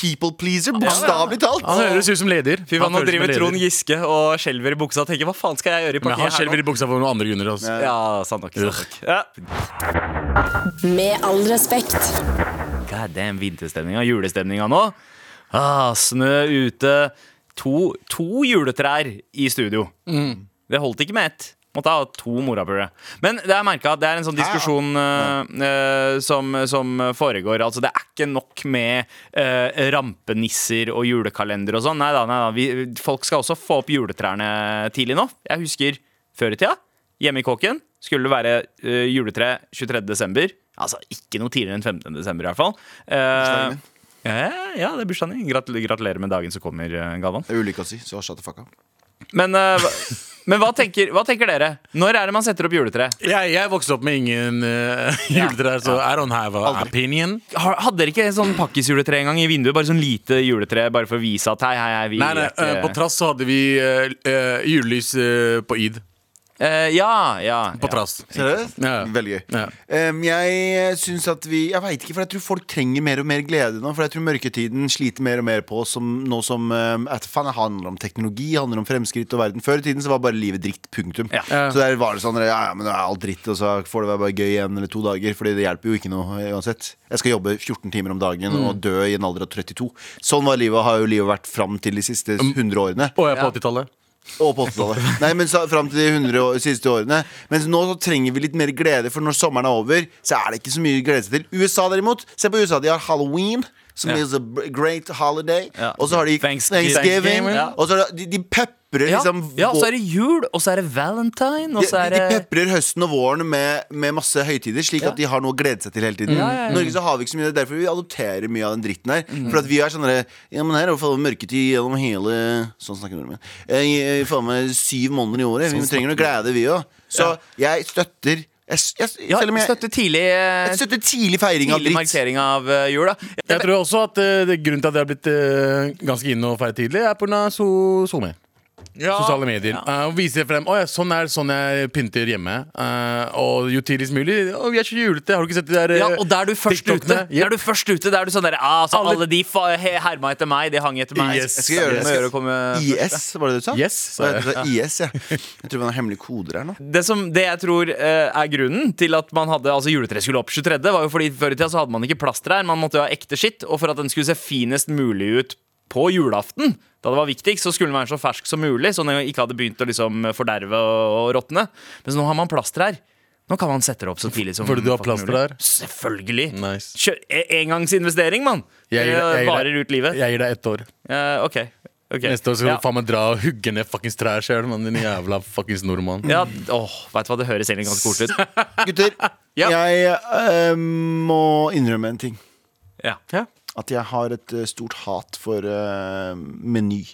Speaker 2: people pleaser, bokstavelig talt.
Speaker 6: Han høres ut som leder.
Speaker 4: eh, Fy faen, Nå
Speaker 6: Han føles som en
Speaker 4: driver
Speaker 6: leder.
Speaker 4: Trond Giske og skjelver i buksa og tenker 'hva faen skal jeg gjøre i
Speaker 6: Men han
Speaker 4: partiet
Speaker 6: skjelver i buksa for noen andre grunner. Altså.
Speaker 4: her nå?' Ja, sant nok. Sant nok. Ja.
Speaker 7: Med all respekt.
Speaker 4: God damn, vinterstemninga, julestemninga nå. Ah, snø ute. To, to juletrær i studio. Det holdt ikke med ett. Måtte ha to morapulere. Men det er merket at det er en sånn diskusjon eh, eh, som, som foregår. Altså, det er ikke nok med eh, rampenisser og julekalender og sånn. Nei da, nei da. Vi, folk skal også få opp juletrærne tidlig nå. Jeg husker før i tida. Hjemme i kåken skulle det være eh, juletre 23. desember. Altså ikke noe tidligere enn 15. desember i hvert fall. Eh, eh, ja, det er bursdagen din. Gratul gratulerer med dagen som kommer, eh, Galvan.
Speaker 2: Det er ulike å si, så shut the fuck up.
Speaker 4: Men, eh, hva- men hva, tenker, hva tenker dere? Når er det man setter opp juletre?
Speaker 6: Jeg, jeg vokste opp med ingen uh, juletrær, så I don't have an opinion.
Speaker 4: Har- Hadde dere ikke sånn pakkisjuletre en gang i vinduet? Bare sånn lite juletre bare for å vise at hei, hei, hei, vi
Speaker 6: Nei, nei,
Speaker 4: er ikke-
Speaker 6: eh, På Trass så hadde vi eh, eh, julelys eh, på id.
Speaker 4: Eh, Ja, ja.
Speaker 6: På
Speaker 4: ja.
Speaker 6: Trass.
Speaker 2: Seriøst?
Speaker 6: Ja.
Speaker 2: Veldig gøy.
Speaker 6: Ja.
Speaker 2: Em, jeg syns at vi Jeg veit ikke, for jeg tror folk trenger mer og mer glede nå. For jeg tror mørketiden sliter mer og mer på oss som, nå som um, at faen, det handler om teknologi, handler om fremskritt og verden. Før i tiden så var bare livet dritt. Punktum. Så der var det sånn Ja, ja, men det er alt dritt, og så får det være bare gøy en eller to dager. Fordi det hjelper jo ikke noe eh, uansett. Jeg skal jobbe 14 timer om dagen
Speaker 6: Mm.
Speaker 2: og dø i en alder av 32. Sånn var livet, har jo livet vært fram til de siste 100 årene.
Speaker 6: Og jeg er på 80-tallet.
Speaker 2: Og på 80-tallet. Nei, men så- Fram til de 100 år, siste årene. Mens nå så trenger vi litt mer glede, for når sommeren er over, så er det ikke så mye å glede seg til. USA, derimot. Se på USA. De har halloween. Som is a b- great holiday. Og så har de
Speaker 4: Thanksgiving.
Speaker 2: Thanksgiving.
Speaker 4: Ja.
Speaker 2: Og så har de, de peprer
Speaker 4: Ja,
Speaker 2: liksom
Speaker 4: ja, og så
Speaker 2: vår-
Speaker 4: er det jul, og så er det valentine, og
Speaker 2: de,
Speaker 4: så er
Speaker 2: de de
Speaker 4: det
Speaker 2: peprer høsten og våren med, med masse høytider, slik at de har noe å glede seg til hele tiden. I Norge så har vi ikke så mye, det er derfor vi adopterer mye av den dritten her.
Speaker 4: Mhm.
Speaker 2: For at vi er sånn derre Ja, men her er det faen meg mørketid gjennom hele Sånn snakker nordmenn. Eh, i- i Faen meg syv måneder i året.
Speaker 4: Sånn
Speaker 2: Vi trenger noe glede, vi òg. Så jeg støtter jeg, s- jeg, s-
Speaker 4: Ja,
Speaker 2: Selv om jeg
Speaker 4: støtte tidlig, eh,
Speaker 2: jeg støtter tidlig feiring av
Speaker 4: tidlig
Speaker 2: dritt.
Speaker 4: markering av eh, jul, da.
Speaker 6: Jeg tror også at eh, det- grunnen til at det har blitt eh, ganske inne å feire tidlig, er pga. So SoMe. Sosiale medier. Eh, og viser frem oh, ja, sånn er sånn jeg pynter hjemme. Eh, og jo tidligst mulig. Å, vi er så julete. Har du ikke sett de der
Speaker 4: Ja,
Speaker 6: eh,
Speaker 4: og da er du først ute.
Speaker 6: TikTokene?
Speaker 4: Da er du først ute, da er du sånn der, ah, så
Speaker 6: Alle-
Speaker 4: alle, de fa- he- herma etter meg, de hang etter meg.
Speaker 6: Yes.
Speaker 2: Jeg skal gjøre det.
Speaker 4: Må gjøre å komme-
Speaker 2: IS, var det det du sa?
Speaker 6: Yes, sa
Speaker 2: Hva heter det? IS, ja. Jeg tror man har hemmelige koder her nå.
Speaker 4: Det, som, det jeg tror eh, er grunnen til at man hadde Altså juletreet skulle opp 23., var jo fordi før i tida så hadde man ikke plasttrær. Man måtte jo ha ekte skitt. Og for at den skulle se finest mulig ut på julaften, da det var viktigst, så skulle den være så fersk som mulig, så den ikke hadde begynt å liksom forderve og, og råtne. Mens nå har man plasttrær. Nå kan man sette det opp så tidlig som
Speaker 6: Fordi du har
Speaker 4: fucking mulig.
Speaker 6: plasttrær?
Speaker 4: Selvfølgelig.
Speaker 6: Nice.
Speaker 4: Kjør e- engangsinvestering, mann.
Speaker 6: Jeg gir
Speaker 4: Det
Speaker 6: deg- jeg gir deg-
Speaker 4: varer ut livet.
Speaker 6: Jeg gir deg ett år.
Speaker 4: Eh, OK. ok.
Speaker 6: Neste år skal
Speaker 4: Ja.
Speaker 6: du faen meg dra og hugge ned fuckings trær sjøl, mann. Din jævla fuckings nordmann.
Speaker 4: ja, åh, Vet du hva, det høres egentlig ganske koselig ut.
Speaker 2: Gutter,
Speaker 4: Ja.
Speaker 2: jeg eh, må innrømme en ting.
Speaker 4: Ja.
Speaker 2: At jeg har et eh, stort hat for eh, Meny.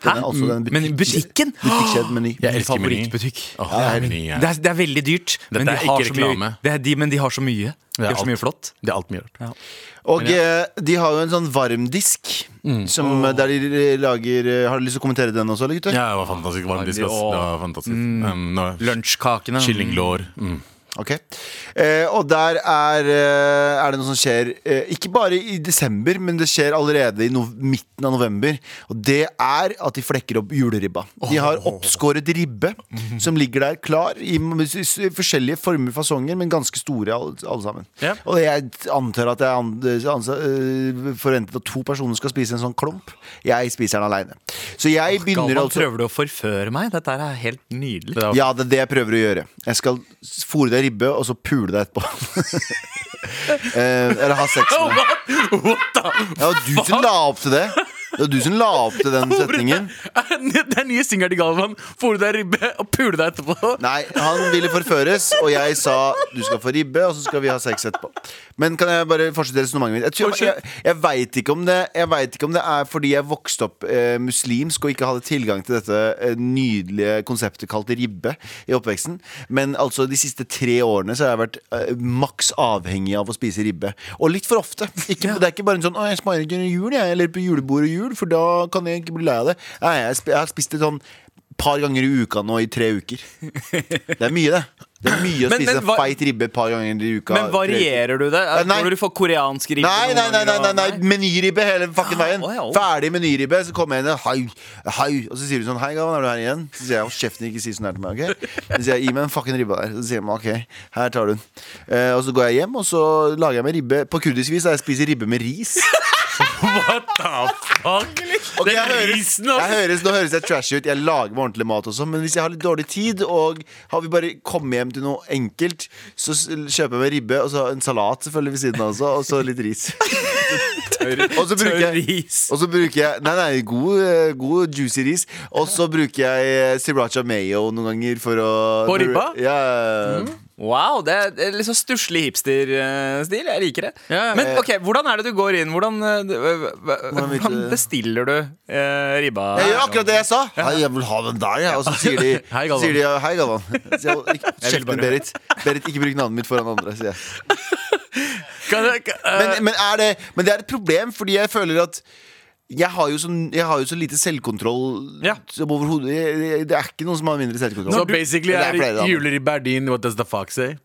Speaker 2: Den er også den butikk-
Speaker 4: Mm. Men butikken?
Speaker 2: Butikkjeden Meny.
Speaker 3: Jeg elsker Meny.
Speaker 4: Favorittbutikk.
Speaker 3: Åh, det er Meny, ja.
Speaker 4: Det er, det er veldig dyrt, men de,
Speaker 3: er
Speaker 4: har
Speaker 3: ikke
Speaker 4: så mye,
Speaker 3: reklame.
Speaker 4: det er de, men de har så mye. De
Speaker 3: er
Speaker 4: har så
Speaker 3: alt.
Speaker 4: mye flott.
Speaker 3: Det er alt mye rart.
Speaker 2: Og eh, de har jo en sånn varmdisk
Speaker 4: Mm.
Speaker 2: som, eh, der de lager eh, Har du lyst til å kommentere den også, eller gutter?
Speaker 3: Ja, det var fantastisk varmdisk. ass. Det var fantastisk.
Speaker 4: Mm.
Speaker 3: Um, nå-
Speaker 4: Lunsjkakene.
Speaker 3: Kyllinglår. Mm.
Speaker 2: Ok eh, Og der er, eh, er det noe som skjer eh, Ikke bare i desember Men det skjer allerede i no midten av november Og det er at de flekker opp juleribba De har oppskåret ribbe Som ligger der klar I m- s- s- forskjellige former fasonger Men ganske store alle, alle sammen
Speaker 3: Ja.
Speaker 2: Og jeg antar at jeg an anser, eh, forventet at to personer skal spise en sånn klump Jeg spiser den alene Så jeg begynner
Speaker 4: Galvan,
Speaker 2: altså
Speaker 4: prøver du å forføre meg? Dette her er helt nydelig.
Speaker 3: Det er
Speaker 2: ja, det er det jeg prøver å gjøre. Jeg skal s- fôre deg ribbe, og så pule deg etterpå. eh, eller ha sex med deg. Det var du som la opp til det. Det var du som la opp til den setningen.
Speaker 6: Det er nye singelen til Galvan. Fôre deg ribbe og pule deg etterpå.
Speaker 2: Nei, han ville forføres, og jeg sa du skal få ribbe, og så skal vi ha sex etterpå. Men kan jeg bare fortsette resonnementet mitt? Jeg, tror- jeg, jeg veit ikke, om det- jeg vet ikke om det er fordi jeg vokste opp eh, muslimsk og ikke hadde tilgang til dette eh, nydelige konseptet kalt ribbe i oppveksten. Men altså de siste tre årene så har jeg vært eh, maks avhengig av å spise ribbe. Og litt for ofte. Ikke, Det er ikke bare en sånn 'Å, jeg sparer ikke under jul, jeg', eller på julebord og jul, for da kan jeg ikke bli lei av det. Nei, jeg, sp- jeg har spist det sånn par ganger i uka nå i tre uker. Det er mye, det. Det er mye å
Speaker 4: Men-
Speaker 2: spise
Speaker 4: men hva-
Speaker 2: en feit ribbe et par ganger i uka.
Speaker 4: Men varierer du det?
Speaker 2: Eh, nei.
Speaker 4: Når du får koreansk ribbe?
Speaker 2: Nei,
Speaker 4: noen
Speaker 2: nei, nei, nei,
Speaker 4: ganger,
Speaker 2: nei,
Speaker 4: og-
Speaker 2: nei. menyribbe hele fucking veien.
Speaker 4: Å, ja, å.
Speaker 2: Ferdig menyribbe. Så kommer jeg inn og hei, hei. Og så sier hun sånn Hei, Gavan, er du her igjen? Så sier jeg og kjeften ikke si sånn her til meg. ok? Så sier jeg gi meg en fucking ribbe der. Så sier hun OK, her tar du den. Eh, og så går jeg hjem, og så lager jeg meg ribbe. På kurdisk vis er jeg spiser ribbe med ris.
Speaker 4: Ah,
Speaker 2: Ok, jeg høres,
Speaker 4: altså.
Speaker 2: jeg høres, nå høres jeg trashy ut. Jeg lager meg ordentlig mat også, men hvis jeg har litt dårlig tid, og har vi bare kommet hjem til noe enkelt, så s- kjøper jeg meg ribbe og så en salat selvfølgelig ved siden av også, og så litt ris. og så bruker jeg og så bruker jeg Nei, nei, god, eh, god juicy ris. Og så bruker jeg eh, sriracha mayo noen ganger for å
Speaker 4: På ribba?
Speaker 2: Ja, ja, ja.
Speaker 4: Wow, det er- det er litt sånn stusslig hipster-stil. Jeg liker det.
Speaker 6: Ja, ja.
Speaker 4: Men ok, hvordan er det du går inn? Hvordan, eh, d- hva- hva-
Speaker 2: Hvordan vet
Speaker 4: hvordan
Speaker 2: du-
Speaker 4: bestiller du eh, ribba?
Speaker 2: Jeg gjør akkurat det jeg sa. Hei, jeg vil ha den der, jeg. Og så sier de
Speaker 6: Hei, Galvan.
Speaker 2: sier de, ja, Hei, Galvan. Så jeg- ikke- Kjeften din, Berit. Berit, ikke bruk navnet mitt foran andre, sier jeg.
Speaker 6: Kan jeg- kan- eh,
Speaker 2: Men, men, er det, men det er et problem, fordi jeg føler at jeg har jo så, jeg har jo så lite selvkontroll
Speaker 4: Ja.
Speaker 2: som overhodet jeg- jeg- Det er ikke noen som har mindre selvkontroll.
Speaker 6: Så basically
Speaker 2: Eller
Speaker 6: er
Speaker 2: det flere, da.
Speaker 6: juleribbe er din. What does the fuck say?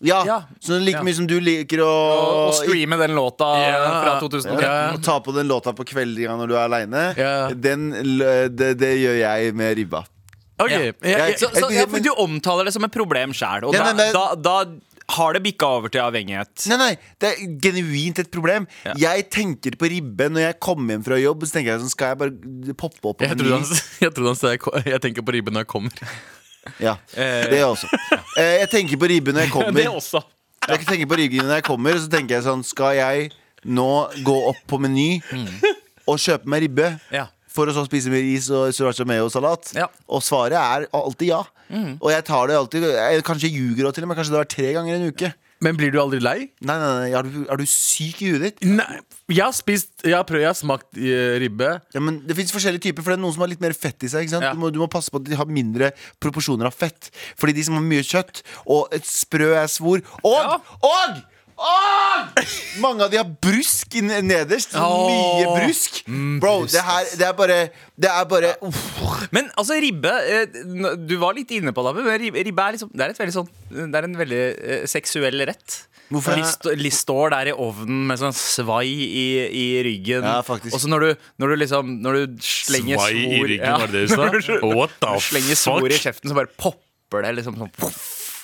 Speaker 2: Ja,
Speaker 4: Ja.
Speaker 2: Så like
Speaker 4: Ja.
Speaker 2: mye som du liker å
Speaker 4: Og streame den låta
Speaker 6: Ja.
Speaker 4: fra 2000?
Speaker 2: ja, å ta på den låta på kveldinga når du er aleine,
Speaker 6: Ja.
Speaker 2: det, det gjør jeg med ribba.
Speaker 6: Ok,
Speaker 4: Ja.
Speaker 6: jeg, jeg,
Speaker 4: Så, så, ja, for
Speaker 2: men-
Speaker 4: du omtaler det som et problem sjæl, og
Speaker 2: Ja,
Speaker 4: da,
Speaker 2: men det-
Speaker 4: da, da har det bikka over til avhengighet.
Speaker 2: Nei, nei, det er genuint et problem. Jeg tenker på ribbe når jeg kommer hjem fra jobb. Så tenker jeg sånn, Skal jeg bare poppe opp på
Speaker 6: jeg
Speaker 2: Meny?
Speaker 6: trodde han, jeg, trodde han sa jeg, ko- jeg tenker på ribben når jeg kommer.
Speaker 2: Ja, det gjør jeg også. Eh, Jeg tenker på ribbe når jeg kommer.
Speaker 4: også.
Speaker 2: Jeg tenker på ribben når jeg kommer, og så tenker jeg sånn Skal jeg nå gå opp på Meny og kjøpe meg ribbe?
Speaker 4: Ja.
Speaker 2: For å så spise med ris og sriracha mayo-salat?
Speaker 4: Ja. Mm.
Speaker 2: Og svaret er alltid ja. Og jeg tar det alltid jeg, Kanskje jeg ljuger også til og med. Kanskje det har vært tre ganger i en uke.
Speaker 6: Men blir du aldri lei?
Speaker 2: Nei, nei, nei, Er du, er du syk i huet ditt?
Speaker 6: Nei, jeg har spist Jeg har prøvd, jeg har smakt eh, ribbe.
Speaker 2: Ja, men Det fins forskjellige typer, for det er noen som har litt mer fett i seg. ikke sant?
Speaker 6: Ja.
Speaker 2: Du, må, du må passe på at de har mindre proporsjoner av fett. Fordi de som har mye kjøtt og et sprø er svor Og! Og! Og! Mange av de har brusk i- nederst. Så mye brusk. Bro, det her Det er bare Det er bare uff.
Speaker 4: Men altså, ribbe eh, n- Du var litt inne på det, Abu, men ribbe, ribbe er liksom Det er, et veldig sånn, det er en veldig eh, seksuell rett.
Speaker 2: Hvorfor?
Speaker 4: De st- de står der i ovnen med sånn svai i, i ryggen.
Speaker 2: Ja, faktisk.
Speaker 4: Og så når du, når du liksom Når du slenger
Speaker 3: Svai i
Speaker 4: svor
Speaker 3: ryggen,
Speaker 4: ja,
Speaker 3: var det det du sa? What the
Speaker 4: Slenger svor i
Speaker 3: fuck?
Speaker 4: kjeften, så bare popper det liksom sånn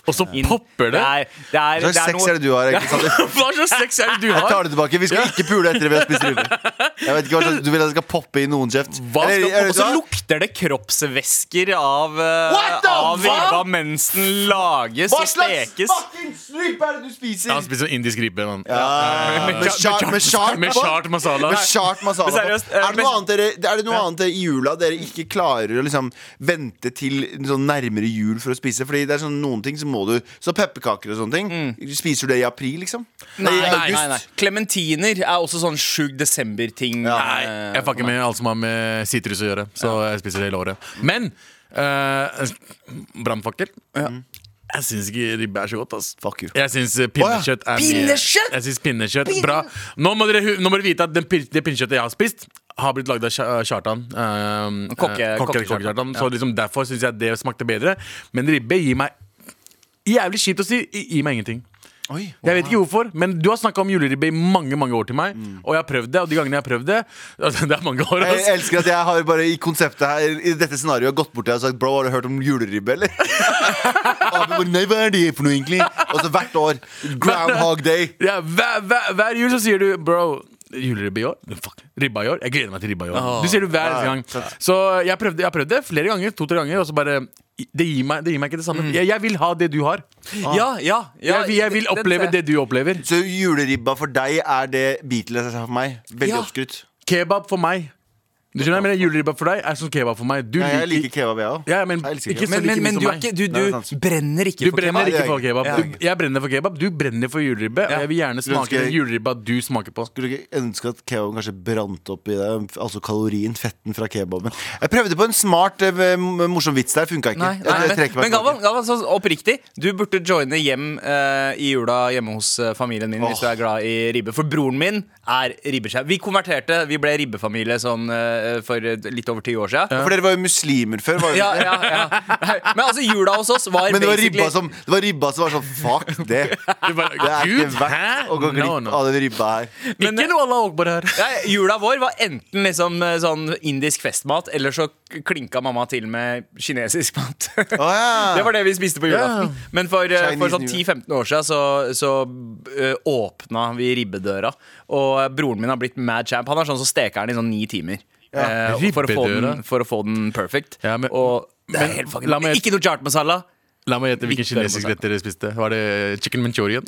Speaker 6: Og så popper det!
Speaker 4: Nei, det er,
Speaker 2: Hva slags
Speaker 4: det er
Speaker 2: sex er det du har? egentlig, Sander?
Speaker 6: Hva slags sex er det du
Speaker 2: Jeg
Speaker 6: har?
Speaker 2: tar det tilbake. Vi skal ikke pule etter at vi har spist ribbe. Jeg vet ikke hva slags Du vil at det skal poppe i noen kjeft?
Speaker 4: Hva
Speaker 2: Eller,
Speaker 4: skal
Speaker 2: eller,
Speaker 4: Og så
Speaker 2: hva?
Speaker 4: lukter det kroppsvæsker av, eh,
Speaker 2: What the
Speaker 4: av
Speaker 2: fuck?
Speaker 4: ribba mens den lages
Speaker 2: hva
Speaker 4: og
Speaker 2: slags
Speaker 4: stekes.
Speaker 2: fucking ribbe er det du spiser?
Speaker 3: Han spiser sånn indisk ribbe. mann.
Speaker 2: Med chart, med chart,
Speaker 3: Med chart masala.
Speaker 2: Med chart masala
Speaker 4: Men seriøst, eh,
Speaker 2: på. er det, noe
Speaker 4: men-
Speaker 2: annet dere, er det noe annet dere i jula dere ikke klarer å liksom vente til sånn nærmere jul for å spise? Fordi det er sånn noen ting som må du. Så pepperkaker og sånne ting. Spiser du det i april, liksom?
Speaker 4: Mm. Nei,
Speaker 2: i
Speaker 4: nei,
Speaker 2: august?
Speaker 4: nei, nei. Clementiner er også sånn sjuk desember-ting.
Speaker 2: Ja.
Speaker 4: Eh,
Speaker 3: Jeg fucker med alt som har med sitrus å gjøre, så jeg spiser det hele året. Men uh, brannfakkel Jeg syns ikke ribbe er så godt. ass
Speaker 2: Fuck you.
Speaker 3: Jeg syns eh, pinnekjøtt er mye-
Speaker 4: Pinnekjøtt?
Speaker 3: Jeg synes pinnekjøtt, bra Nå må dere, hu- nå må dere vite at den, pin- det pinnekjøttet jeg har spist, har blitt lagd av Kja- Kjartan. eh, eh,
Speaker 4: Kokke-
Speaker 3: kokke-
Speaker 4: kokke-Kjartan.
Speaker 3: kokke-Kjartan. Så liksom derfor syns jeg det smakte bedre. Men ribbe gir meg Jævlig kjipt å si. gi- Gir meg ingenting.
Speaker 2: Oi.
Speaker 3: Jeg vet ikke hvorfor, men du har snakka om juleribbe i mange mange år til meg. Og jeg har prøvd det, og de gangene jeg har prøvd det altså, Det er mange år,
Speaker 2: Jeg
Speaker 3: ass.
Speaker 2: elsker at jeg har bare i konseptet her I dette scenarioet gått bort til deg og sagt Bro, har du hørt om juleribbe, eller? Og han bare, Nei, hva er det for noe, egentlig? Og så hvert år. Groundhog Day.
Speaker 3: Ja, hver, hver, hver jul så sier du Bro, juleribbe i år? Fuck, ribba i år? Jeg gleder meg til ribba i år. Du sier det hver eneste gang. Så jeg prøvde, jeg prøvde det flere ganger, to-tre ganger, og så bare det gir, meg, det gir meg ikke det samme. Jeg, jeg vil ha det du har.
Speaker 4: ja, ja, Ah. ja.
Speaker 3: jeg, vil- jeg vil
Speaker 4: Den- den
Speaker 3: oppleve
Speaker 4: ser jeg.
Speaker 3: det du opplever.
Speaker 2: Så juleribba for deg er det Beatles er for meg. Veldig
Speaker 4: Ja.
Speaker 2: oppskrytt.
Speaker 3: Kebab for meg. Du skjønner, jeg mener Juleribba for deg er som kebab for meg. Du
Speaker 2: Nei, jeg liker kebab, jeg òg.
Speaker 3: Ja, men ikke så
Speaker 4: Men, men,
Speaker 3: mye
Speaker 4: men
Speaker 3: som
Speaker 4: du, er
Speaker 3: meg.
Speaker 4: ikke, du,
Speaker 2: Nei, det er
Speaker 4: du
Speaker 2: sant.
Speaker 4: brenner ikke
Speaker 3: Du
Speaker 4: for
Speaker 3: brenner
Speaker 2: kebab.
Speaker 3: ikke for kebab.
Speaker 2: Ja.
Speaker 3: Du, jeg brenner for kebab, du brenner for juleribbe. Og jeg vil gjerne
Speaker 2: Skulle ønske
Speaker 3: smake den
Speaker 2: jeg-
Speaker 3: juleribba du smaker på.
Speaker 2: Skulle du ikke ønske at kebaben kanskje brant opp i deg? Altså kalorien, fetten fra kebaben. Jeg prøvde på en smart, eh, morsom vits der. Funka ikke.
Speaker 4: Nei,
Speaker 2: Jeg-
Speaker 4: nei,
Speaker 2: jeg
Speaker 4: men,
Speaker 2: trekker meg
Speaker 4: men
Speaker 2: tilbake.
Speaker 4: Galvan, Galvan så oppriktig, du burde joine hjem eh, i jula hjemme hos eh, familien din hvis du er glad i ribbe. For broren min er ribbeskjær. Vi konverterte, vi ble ribbefamilie sånn eh, for eh, litt over ti år siden.
Speaker 2: For dere var jo muslimer før. Var dere
Speaker 4: Ja,
Speaker 2: ikke det?
Speaker 4: ja, ja. Nei, Men altså, jula hos oss var
Speaker 2: Men det var,
Speaker 4: basically-
Speaker 2: ribba som, det var ribba som var sånn Fuck det.
Speaker 3: Du bare,
Speaker 2: Det er
Speaker 3: Gud,
Speaker 2: ikke
Speaker 3: hæ?
Speaker 2: verdt å gå glipp
Speaker 3: No, no.
Speaker 2: av den ribba her.
Speaker 3: Ikke noe Allah Akbar her.
Speaker 4: Nei, jula vår var enten liksom eh, sånn indisk festmat, eller så k- klinka mamma til med kinesisk mat.
Speaker 2: Å, ja.
Speaker 4: Det var det vi spiste på julaften. Men for, eh,
Speaker 2: Chinese
Speaker 4: for sånn
Speaker 2: New Year.
Speaker 4: 10-15 år siden så, så eh, åpna vi ribbedøra. Og broren min har blitt mad champ. Han er sånn som steker den i sånn ni timer. Eh, og for, å få
Speaker 3: Ribbedøra?
Speaker 4: den, for å få den perfect.
Speaker 3: Ja, men-
Speaker 4: og det er
Speaker 3: men
Speaker 4: helt fucking
Speaker 3: la meg-
Speaker 4: Ikke noe chart masala.
Speaker 3: La meg gjette hvilken
Speaker 4: Viktig å
Speaker 3: kinesisk
Speaker 4: få
Speaker 3: rett dere spiste. Var det chicken manchurian?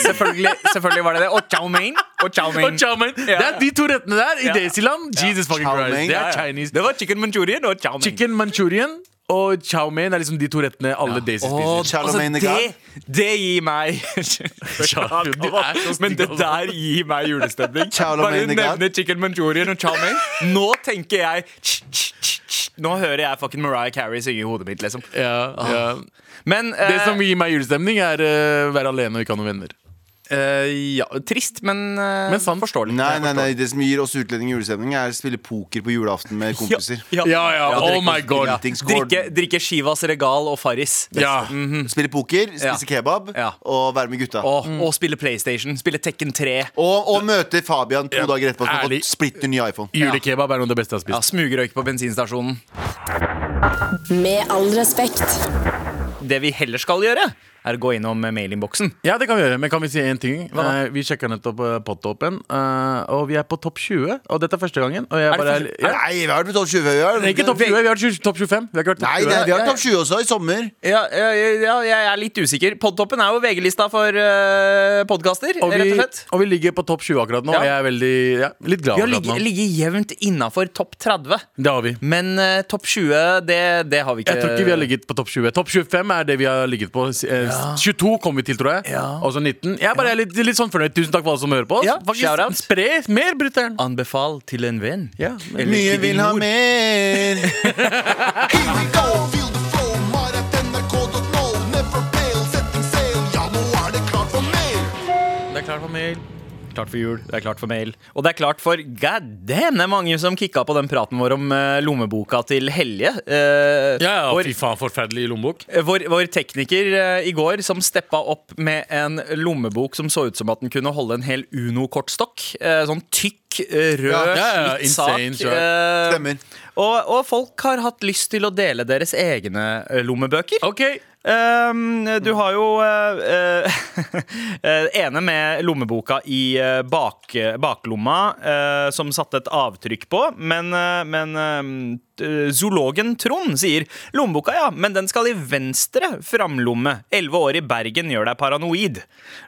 Speaker 4: Selvfølgelig, selvfølgelig var det det. Og chow mein. Og chow mein.
Speaker 3: Og chow mein. Det er de to rettene der i
Speaker 4: Ja.
Speaker 3: Daisyland. Jesus fucking
Speaker 2: Chow
Speaker 3: Christ.
Speaker 2: mein,
Speaker 3: Det
Speaker 2: ja,
Speaker 3: er
Speaker 2: ja.
Speaker 3: Chinese.
Speaker 4: Det var chicken manchurian og chow mein.
Speaker 3: Chicken manchurian og chow mein er liksom de to rettene alle Daisy
Speaker 4: Og,
Speaker 3: spiser.
Speaker 2: Shallow
Speaker 4: altså,
Speaker 2: Main the
Speaker 4: det, det gir meg
Speaker 3: du er så stygg,
Speaker 4: Men det der gir meg julestemning.
Speaker 2: Shallow
Speaker 4: Bare
Speaker 2: Main the God.
Speaker 4: nevne chicken manchurian og chow mein. Nå tenker jeg tsk, tsk, tsk, tsk. Nå hører jeg fucking Mariah Carey synge i hodet mitt, liksom.
Speaker 3: Ja,
Speaker 2: Ah.
Speaker 3: ja.
Speaker 4: Men eh,
Speaker 3: Det som gir meg julestemning, er å være alene og ikke ha noen venner.
Speaker 4: eh, ja, Trist, men, eh,
Speaker 3: Men sånn sant.
Speaker 4: forståelig.
Speaker 2: Nei, nei, nei, Det som gir oss utlendinger julestemning, er å spille poker på julaften med kompiser.
Speaker 4: Ja, ja.
Speaker 3: Ja, ja. Oh my god.
Speaker 2: Drinkingsgård.
Speaker 4: Drikke, drikke Shivas Regal og Farris.
Speaker 3: Ja.
Speaker 4: Mm.
Speaker 2: Spille poker, spise kebab
Speaker 4: Mhm. Ja.
Speaker 2: og være med gutta.
Speaker 4: Og, og spille PlayStation. Spille Tekken 3.
Speaker 2: Og, og møte Fabian to dager etterpå som har
Speaker 3: Ærlig.
Speaker 2: fått splitter ny iPhone.
Speaker 3: Julekebab er noe av det beste jeg har
Speaker 4: Ja,
Speaker 3: spist.
Speaker 4: Smugrøyke på bensinstasjonen.
Speaker 1: Med all respekt.
Speaker 4: Det vi heller skal gjøre, er å gå innom eh, mailinnboksen.
Speaker 3: Ja, det kan vi gjøre, men kan vi si én ting? Eh, vi sjekka nettopp eh, podtoppen, eh, og vi er på topp 20. Og dette er første gangen. Og jeg
Speaker 4: det
Speaker 3: bare,
Speaker 4: første-
Speaker 3: ja.
Speaker 2: Nei, vi har vært på topp 20 vi har.
Speaker 3: Nei, Ikke topp 20, vi har vært tjue- topp 25. Vi har ikke vært
Speaker 2: Nei,
Speaker 3: topp
Speaker 2: det,
Speaker 3: 20.
Speaker 2: vi har topp 20 også i sommer.
Speaker 4: Ja, ja, ja, jeg er litt usikker. Podtoppen er jo VG-lista for uh, podkaster,
Speaker 3: Og
Speaker 4: rett
Speaker 3: vi,
Speaker 4: og slett.
Speaker 3: og vi ligger på topp 20 akkurat nå.
Speaker 4: Ja.
Speaker 3: Og jeg er veldig, ja, litt glad
Speaker 4: Vi har
Speaker 3: akkurat
Speaker 4: ligget,
Speaker 3: nå.
Speaker 4: ligget jevnt innafor topp 30,
Speaker 3: Det har vi.
Speaker 4: men eh, topp 20, det, det har vi ikke.
Speaker 3: Jeg tror ikke vi har ligget på topp 20. Topp 25 er det vi har ligget på. Eh, 22 kom vi til, tror jeg.
Speaker 4: Ja.
Speaker 3: Og så 19. Jeg er bare litt, litt sånn fornøyd. Tusen takk for alle som hører på oss.
Speaker 4: Ja, shout-out.
Speaker 3: Faktisk, spre mer, brutter'n.
Speaker 4: Anbefal til en venn.
Speaker 3: Ja, men-
Speaker 4: Eller
Speaker 2: Mye
Speaker 4: til
Speaker 2: vil
Speaker 4: din
Speaker 2: ha
Speaker 4: mor.
Speaker 2: mer.
Speaker 4: Det er klart for mail. Klart for jul, det er klart for mail. Og det er klart for god damn, det er mange som kicka på den praten vår om eh, lommeboka til Helje. Eh,
Speaker 3: Ja, ja,
Speaker 4: vår
Speaker 3: fy faen, forferdelig lommebok.
Speaker 4: Vår, vår tekniker eh, i går som steppa opp med en lommebok som så ut som at den kunne holde en hel Uno-kortstokk. Eh, sånn tykk, eh, rød,
Speaker 3: Ja, ja, ja,
Speaker 4: slittsak.
Speaker 3: insane, sure.
Speaker 4: eh,
Speaker 2: Stemmer.
Speaker 4: og, og folk har hatt lyst til å dele deres egne eh, lommebøker.
Speaker 3: OK.
Speaker 4: Um, du har jo eh, eh, ene med lommeboka i eh, bak, baklomma, eh, som satte et avtrykk på. Men, eh, men eh, eh, zoologen Trond sier lommeboka, ja, men den skal i venstre framlomme. Elleve år i Bergen gjør deg paranoid.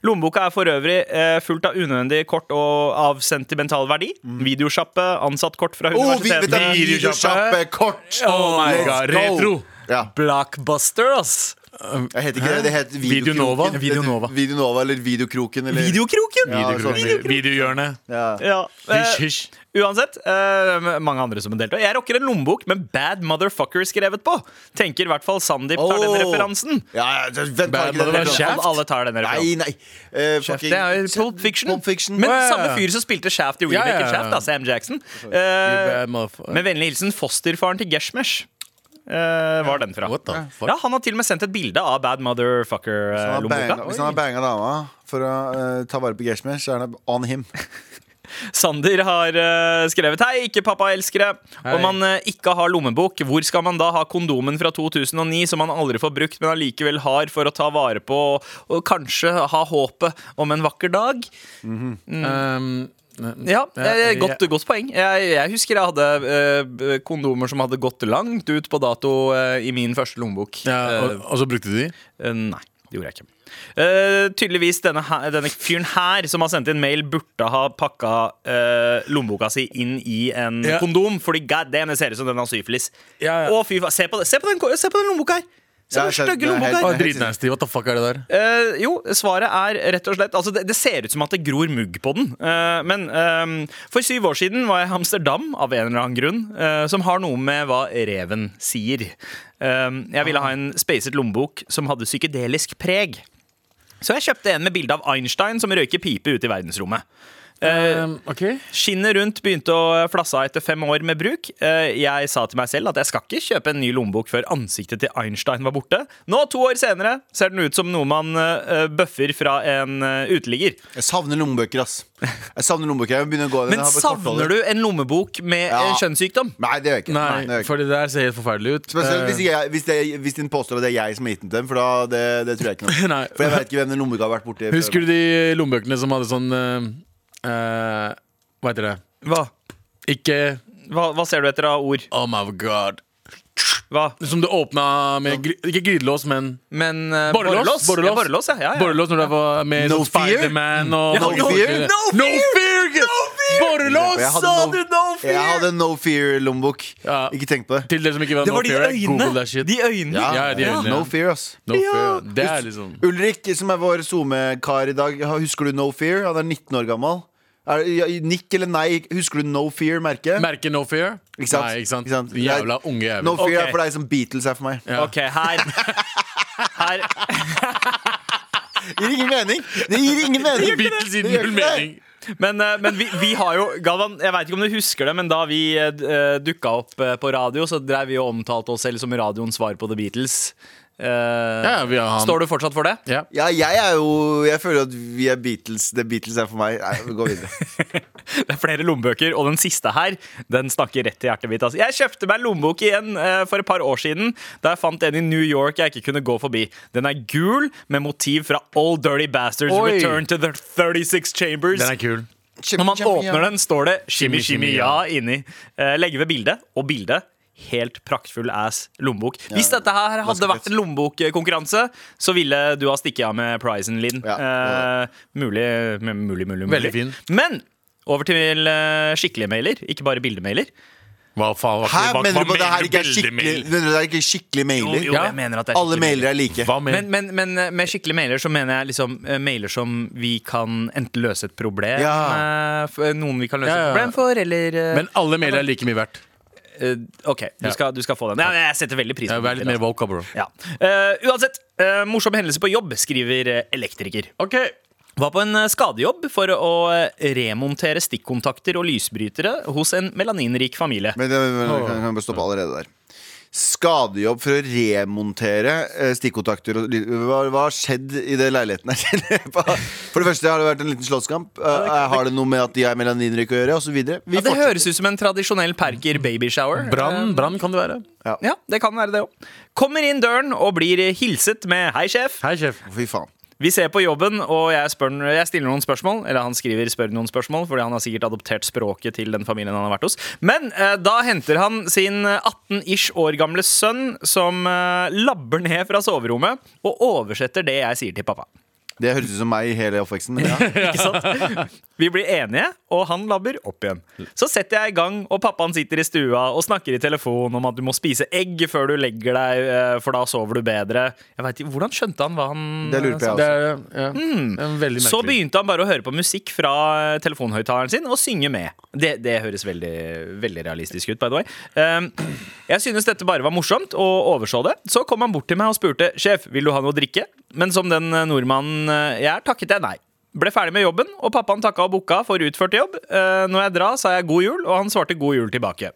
Speaker 4: Lommeboka er for øvrig eh, fullt av unødvendig kort og av sentimental verdi. Videosjappe, ansatt kort fra
Speaker 2: Oh, Mm. vi, vet du,
Speaker 4: universitetet.
Speaker 2: videosjappe, kort.
Speaker 3: Oh my
Speaker 2: Let's
Speaker 3: god,
Speaker 2: go.
Speaker 3: retro.
Speaker 2: Ja.
Speaker 3: altså.
Speaker 4: Blockbuster, ass!
Speaker 2: Jeg heter ikke det, det heter
Speaker 3: Videonova?
Speaker 2: Videokroken.
Speaker 3: Videonova.
Speaker 2: Videonova eller Videokroken eller
Speaker 4: Videokroken!
Speaker 2: Ja, sånn.
Speaker 3: Videokroken. Videohjørnet.
Speaker 2: Ja.
Speaker 4: Ja.
Speaker 3: Hysj,
Speaker 4: Eh,
Speaker 3: hysj.
Speaker 4: uansett, eh, mange andre som deltar. Jeg rocker en lommebok med 'Bad Motherfucker' skrevet på. Tenker i hvert fall Sandeep tar den
Speaker 2: Åh.
Speaker 4: referansen.
Speaker 2: Ja, ja, vent, var
Speaker 3: Bare-
Speaker 2: ikke
Speaker 3: bare
Speaker 2: det-
Speaker 3: være kjeft.
Speaker 4: Alle, alle tar den referansen.
Speaker 2: Nei, nei. Eh, fucking-
Speaker 4: Det er Pulp Fiction.
Speaker 2: Pulp Fiction.
Speaker 4: Men
Speaker 3: Ja, ja, ja.
Speaker 4: samme fyr som spilte Shaft i remaken
Speaker 3: Ja, ja, ja.
Speaker 4: Shaft, da, Sam Jackson. Eh,
Speaker 3: Bad motherfucker.
Speaker 4: med vennlig hilsen fosterfaren til Geshmesh. eh, var den fra.
Speaker 3: What the fuck?
Speaker 4: Ja, han har til og med sendt et bilde av Bad
Speaker 3: Eh,
Speaker 4: eh,
Speaker 2: Hvis han har banga- Hvis
Speaker 4: Motherfucker-lommeboka.
Speaker 2: han har banga dama for å eh, ta vare på Geshmer, så er det on him.
Speaker 4: Sander har eh, skrevet Hei, ikke pappa-elskere. Om man eh, ikke har lommebok, hvor skal man da ha kondomen fra 2009 som man aldri får brukt, men allikevel har for å ta vare på og, og kanskje ha håpet om en vakker dag?
Speaker 3: Um,
Speaker 4: Ja, eh,
Speaker 3: jeg-
Speaker 4: godt, godt poeng. Jeg, jeg husker jeg hadde eh, kondomer som hadde gått langt ut på dato eh, i min første lommebok.
Speaker 3: ja,
Speaker 4: Eh,
Speaker 3: og, og så brukte du de?
Speaker 4: Eh, Nei, det gjorde jeg ikke. Eh, tydeligvis denne, her, denne fyren her som har sendt inn mail, burde ha pakka eh, lommeboka si inn i en
Speaker 3: Ja.
Speaker 4: kondom, fordi god damn, det ser ut som den har syfilis.
Speaker 3: Ja, ja.
Speaker 4: Å, fy faen. Se på, det. Se, på den, ko- se på den lommeboka her! Se
Speaker 2: Ja,
Speaker 4: på den
Speaker 2: jeg skjønner.
Speaker 4: stygge
Speaker 2: Det er helt-
Speaker 4: lommeboka
Speaker 3: Å,
Speaker 4: her!
Speaker 2: helt
Speaker 3: Dritnasty. What the fuck er det der?
Speaker 4: Eh, jo, svaret er rett og slett Altså, det, det ser ut som at det gror mugg på den. Eh, men eh, for syv år siden var jeg i Amsterdam, av en eller annen grunn, eh, som har noe med hva reven sier. Eh, jeg ville ha en spacet lommebok som hadde psykedelisk preg. Så jeg kjøpte en med bilde av Einstein som røyker pipe ute i verdensrommet.
Speaker 3: Um, ok
Speaker 4: Skinnet rundt begynte å flasse av etter fem år med bruk. Eh, Jeg sa til meg selv at jeg skal ikke kjøpe en ny lommebok før ansiktet til Einstein var borte. Nå, to år senere, ser den ut som noe man eh, bøffer fra en eh, uteligger.
Speaker 2: Jeg savner lommebøker, ass. Jeg savner lommebøker. Jeg begynner å gå
Speaker 4: Men savner du en lommebok med
Speaker 2: Ja.
Speaker 4: en kjønnssykdom?
Speaker 2: Nei, det gjør jeg ikke. Nei, det
Speaker 3: Nei,
Speaker 2: gjør jeg ikke.
Speaker 3: for det der ser helt forferdelig ut.
Speaker 2: Spesielt
Speaker 3: Eh,
Speaker 2: hvis, jeg, hvis, det, hvis din påstår at det er jeg som har gitt den til dem, for da det, det tror jeg ikke noe
Speaker 3: Nei.
Speaker 2: om. For jeg vet ikke hvem den lommeboka har vært borti. før.
Speaker 3: Husker du de lommebøkene som hadde sånn eh, eh, Hva heter det?
Speaker 4: Hva?
Speaker 3: Ikke
Speaker 4: Hva, hva ser du etter av ord?
Speaker 3: Oh my god.
Speaker 4: Hva?
Speaker 3: Som du åpna med gry Ikke grytelås, men
Speaker 4: Men eh,
Speaker 3: Borrelås.
Speaker 4: Borrelås. Ja, borrelås, ja. ja, ja.
Speaker 3: Borrelås når du er på- med
Speaker 2: No
Speaker 3: sånn
Speaker 2: fear?
Speaker 3: Spiderman og
Speaker 2: No fear?
Speaker 3: No fear! Borrelås!
Speaker 2: Jeg hadde
Speaker 3: sa
Speaker 2: no-
Speaker 3: du no fear?
Speaker 2: Jeg hadde en no fear-lommebok.
Speaker 3: Ja.
Speaker 2: Ikke tenk på det.
Speaker 3: Til dere som ikke var
Speaker 4: Det
Speaker 3: no
Speaker 4: var de
Speaker 3: fear,
Speaker 4: øynene!
Speaker 3: google that shit.
Speaker 4: De øynene.
Speaker 3: Ja, de øynene.
Speaker 2: No fear, ass.
Speaker 3: No fear. Det er liksom
Speaker 2: Ulrik, som er vår SoMe-kar i dag, ha- husker du No Fear? Han er 19 år gammel. Er, ja, nikk eller nei, husker du No Fear-merket?
Speaker 3: Merket no fear?
Speaker 2: Ikke sant?
Speaker 3: Nei, ikke sant?
Speaker 2: Ikke sant?
Speaker 3: Jævla unge jævel.
Speaker 2: No Fear
Speaker 4: Ok.
Speaker 2: er for deg som Beatles er for meg.
Speaker 3: Ja.
Speaker 4: OK, her. her.
Speaker 2: Det gir ingen mening! Det gir ingen mening!
Speaker 3: Beatles
Speaker 2: Det
Speaker 3: i
Speaker 2: gjør ikke
Speaker 3: null
Speaker 2: det.
Speaker 3: mening.
Speaker 4: Men, eh, men vi, vi har jo Galvan, jeg vet ikke om du husker det, men da vi eh, d- eh, dukka opp eh, på radio, så drev vi og omtalte oss selv som radioens svar på The Beatles. Eh,
Speaker 3: Ja, vi har han.
Speaker 4: Står du fortsatt for det?
Speaker 3: Ja.
Speaker 2: Ja, jeg er jo Jeg føler at vi er Beatles. Det Beatles er for meg. Nei, vi går videre.
Speaker 4: Det er flere lommebøker, og den siste her Den snakker rett til hjertet mitt. Altså. Jeg kjøpte meg en lommebok igjen eh, for et par år siden, da jeg fant en i New York jeg ikke kunne gå forbi. Den er gul, med motiv fra All Dirty Bastards
Speaker 3: Oi.
Speaker 4: Return to the 36 Chambers.
Speaker 3: Den er kul.
Speaker 4: Når man
Speaker 2: Shimmy,
Speaker 4: åpner
Speaker 2: ja.
Speaker 4: den, står det 'Shimmy,
Speaker 3: Shimmy,
Speaker 4: shimmy,
Speaker 3: shimmy,
Speaker 4: ja' inni. Eh, legger ved bildet, og bildet Helt praktfull ass lommebok. Hvis dette her hadde
Speaker 2: ganske
Speaker 4: vært
Speaker 2: fett.
Speaker 4: en lommebokkonkurranse, så ville du ha stikket av med prisen, Linn.
Speaker 2: Ja,
Speaker 4: Eh, mulig, m- mulig, mulig, mulig.
Speaker 3: Veldig fin.
Speaker 4: Men over til eh, skikkelige mailer, ikke bare bildemailer.
Speaker 3: Hva faen? Hva,
Speaker 2: Hæ?
Speaker 3: hva,
Speaker 2: Mener du på at det her
Speaker 3: mener
Speaker 2: ikke er
Speaker 3: bildet
Speaker 2: skikkelig
Speaker 3: med?
Speaker 2: Mener du det er ikke skikkelig mailer?
Speaker 4: Jo, jo, jeg mener at det er
Speaker 2: Alle
Speaker 4: skikkelige
Speaker 2: mailer er like.
Speaker 3: Hva mener
Speaker 4: Men, men, men eh, med skikkelige mailer så mener jeg liksom eh, mailer som vi kan enten løse et problem
Speaker 2: Ja.
Speaker 4: eh, f- Noen vi kan løse
Speaker 3: Ja,
Speaker 4: et
Speaker 3: ja.
Speaker 4: problem for, eller eh,
Speaker 3: Men alle mailer er like mye verdt.
Speaker 4: Eh, OK, du skal, du skal få den. Ja, men jeg setter veldig pris
Speaker 3: Ja,
Speaker 4: på
Speaker 3: Vær litt mer
Speaker 4: den. altså.
Speaker 3: woke, bro.
Speaker 4: Ja. Eh, uansett, eh, morsom hendelse på jobb, skriver eh, elektriker.
Speaker 3: Ok
Speaker 4: Var på en eh, skadejobb for å eh, remontere stikkontakter og lysbrytere hos en melaninrik familie.
Speaker 2: Men det, men, men, kan, kan bare stoppe allerede der. Skadejobb for å remontere eh, stikkontakter. og ly- Hva, hva har skjedd i det leiligheten her? for det første har det vært en liten slåsskamp. Eh, har det noe med at de er melaninrike å gjøre? Og så videre. Vi
Speaker 4: Ja, det
Speaker 2: fortsetter.
Speaker 4: høres ut som en tradisjonell Perker babyshower.
Speaker 3: Brann brann kan det være.
Speaker 4: Ja, det kan være det òg. Kommer inn døren og blir eh, hilset med 'hei, sjef'.
Speaker 3: Hei, sjef.
Speaker 2: Fy faen.
Speaker 4: Vi ser på jobben, og jeg, spør, jeg stiller noen spørsmål. Eller han skriver 'spør noen spørsmål', fordi han har sikkert adoptert språket til den familien han har vært hos. Men eh, da henter han sin 18-ish år gamle sønn, som eh, labber ned fra soverommet og oversetter det jeg sier til pappa.
Speaker 2: Det høres ut som meg i hele oppveksten. Men ja.
Speaker 4: Ikke sant? Vi blir enige, og han labber opp igjen. Så setter jeg i gang, og pappaen sitter i stua og snakker i telefon om at du må spise egg før du legger deg, eh, for da sover du bedre. Jeg vet, ikke- Hvordan skjønte han hva han
Speaker 2: Det lurer på jeg også.
Speaker 3: Det er, ja, det er veldig merkelig.
Speaker 4: Så begynte han bare å høre på musikk fra eh, telefonhøyttaleren sin og synge med. Det, det høres veldig, veldig realistisk ut, by the way. Ehm, jeg synes dette bare var morsomt og overså det. Så kom han bort til meg og spurte sjef, vil du ha noe å drikke. Men som den eh, nordmannen eh, jeg er, takket jeg nei. Ble ferdig med jobben, og pappaen takka og booka for utført jobb. Eh, når jeg drar, sa jeg god jul, og han svarte god jul tilbake.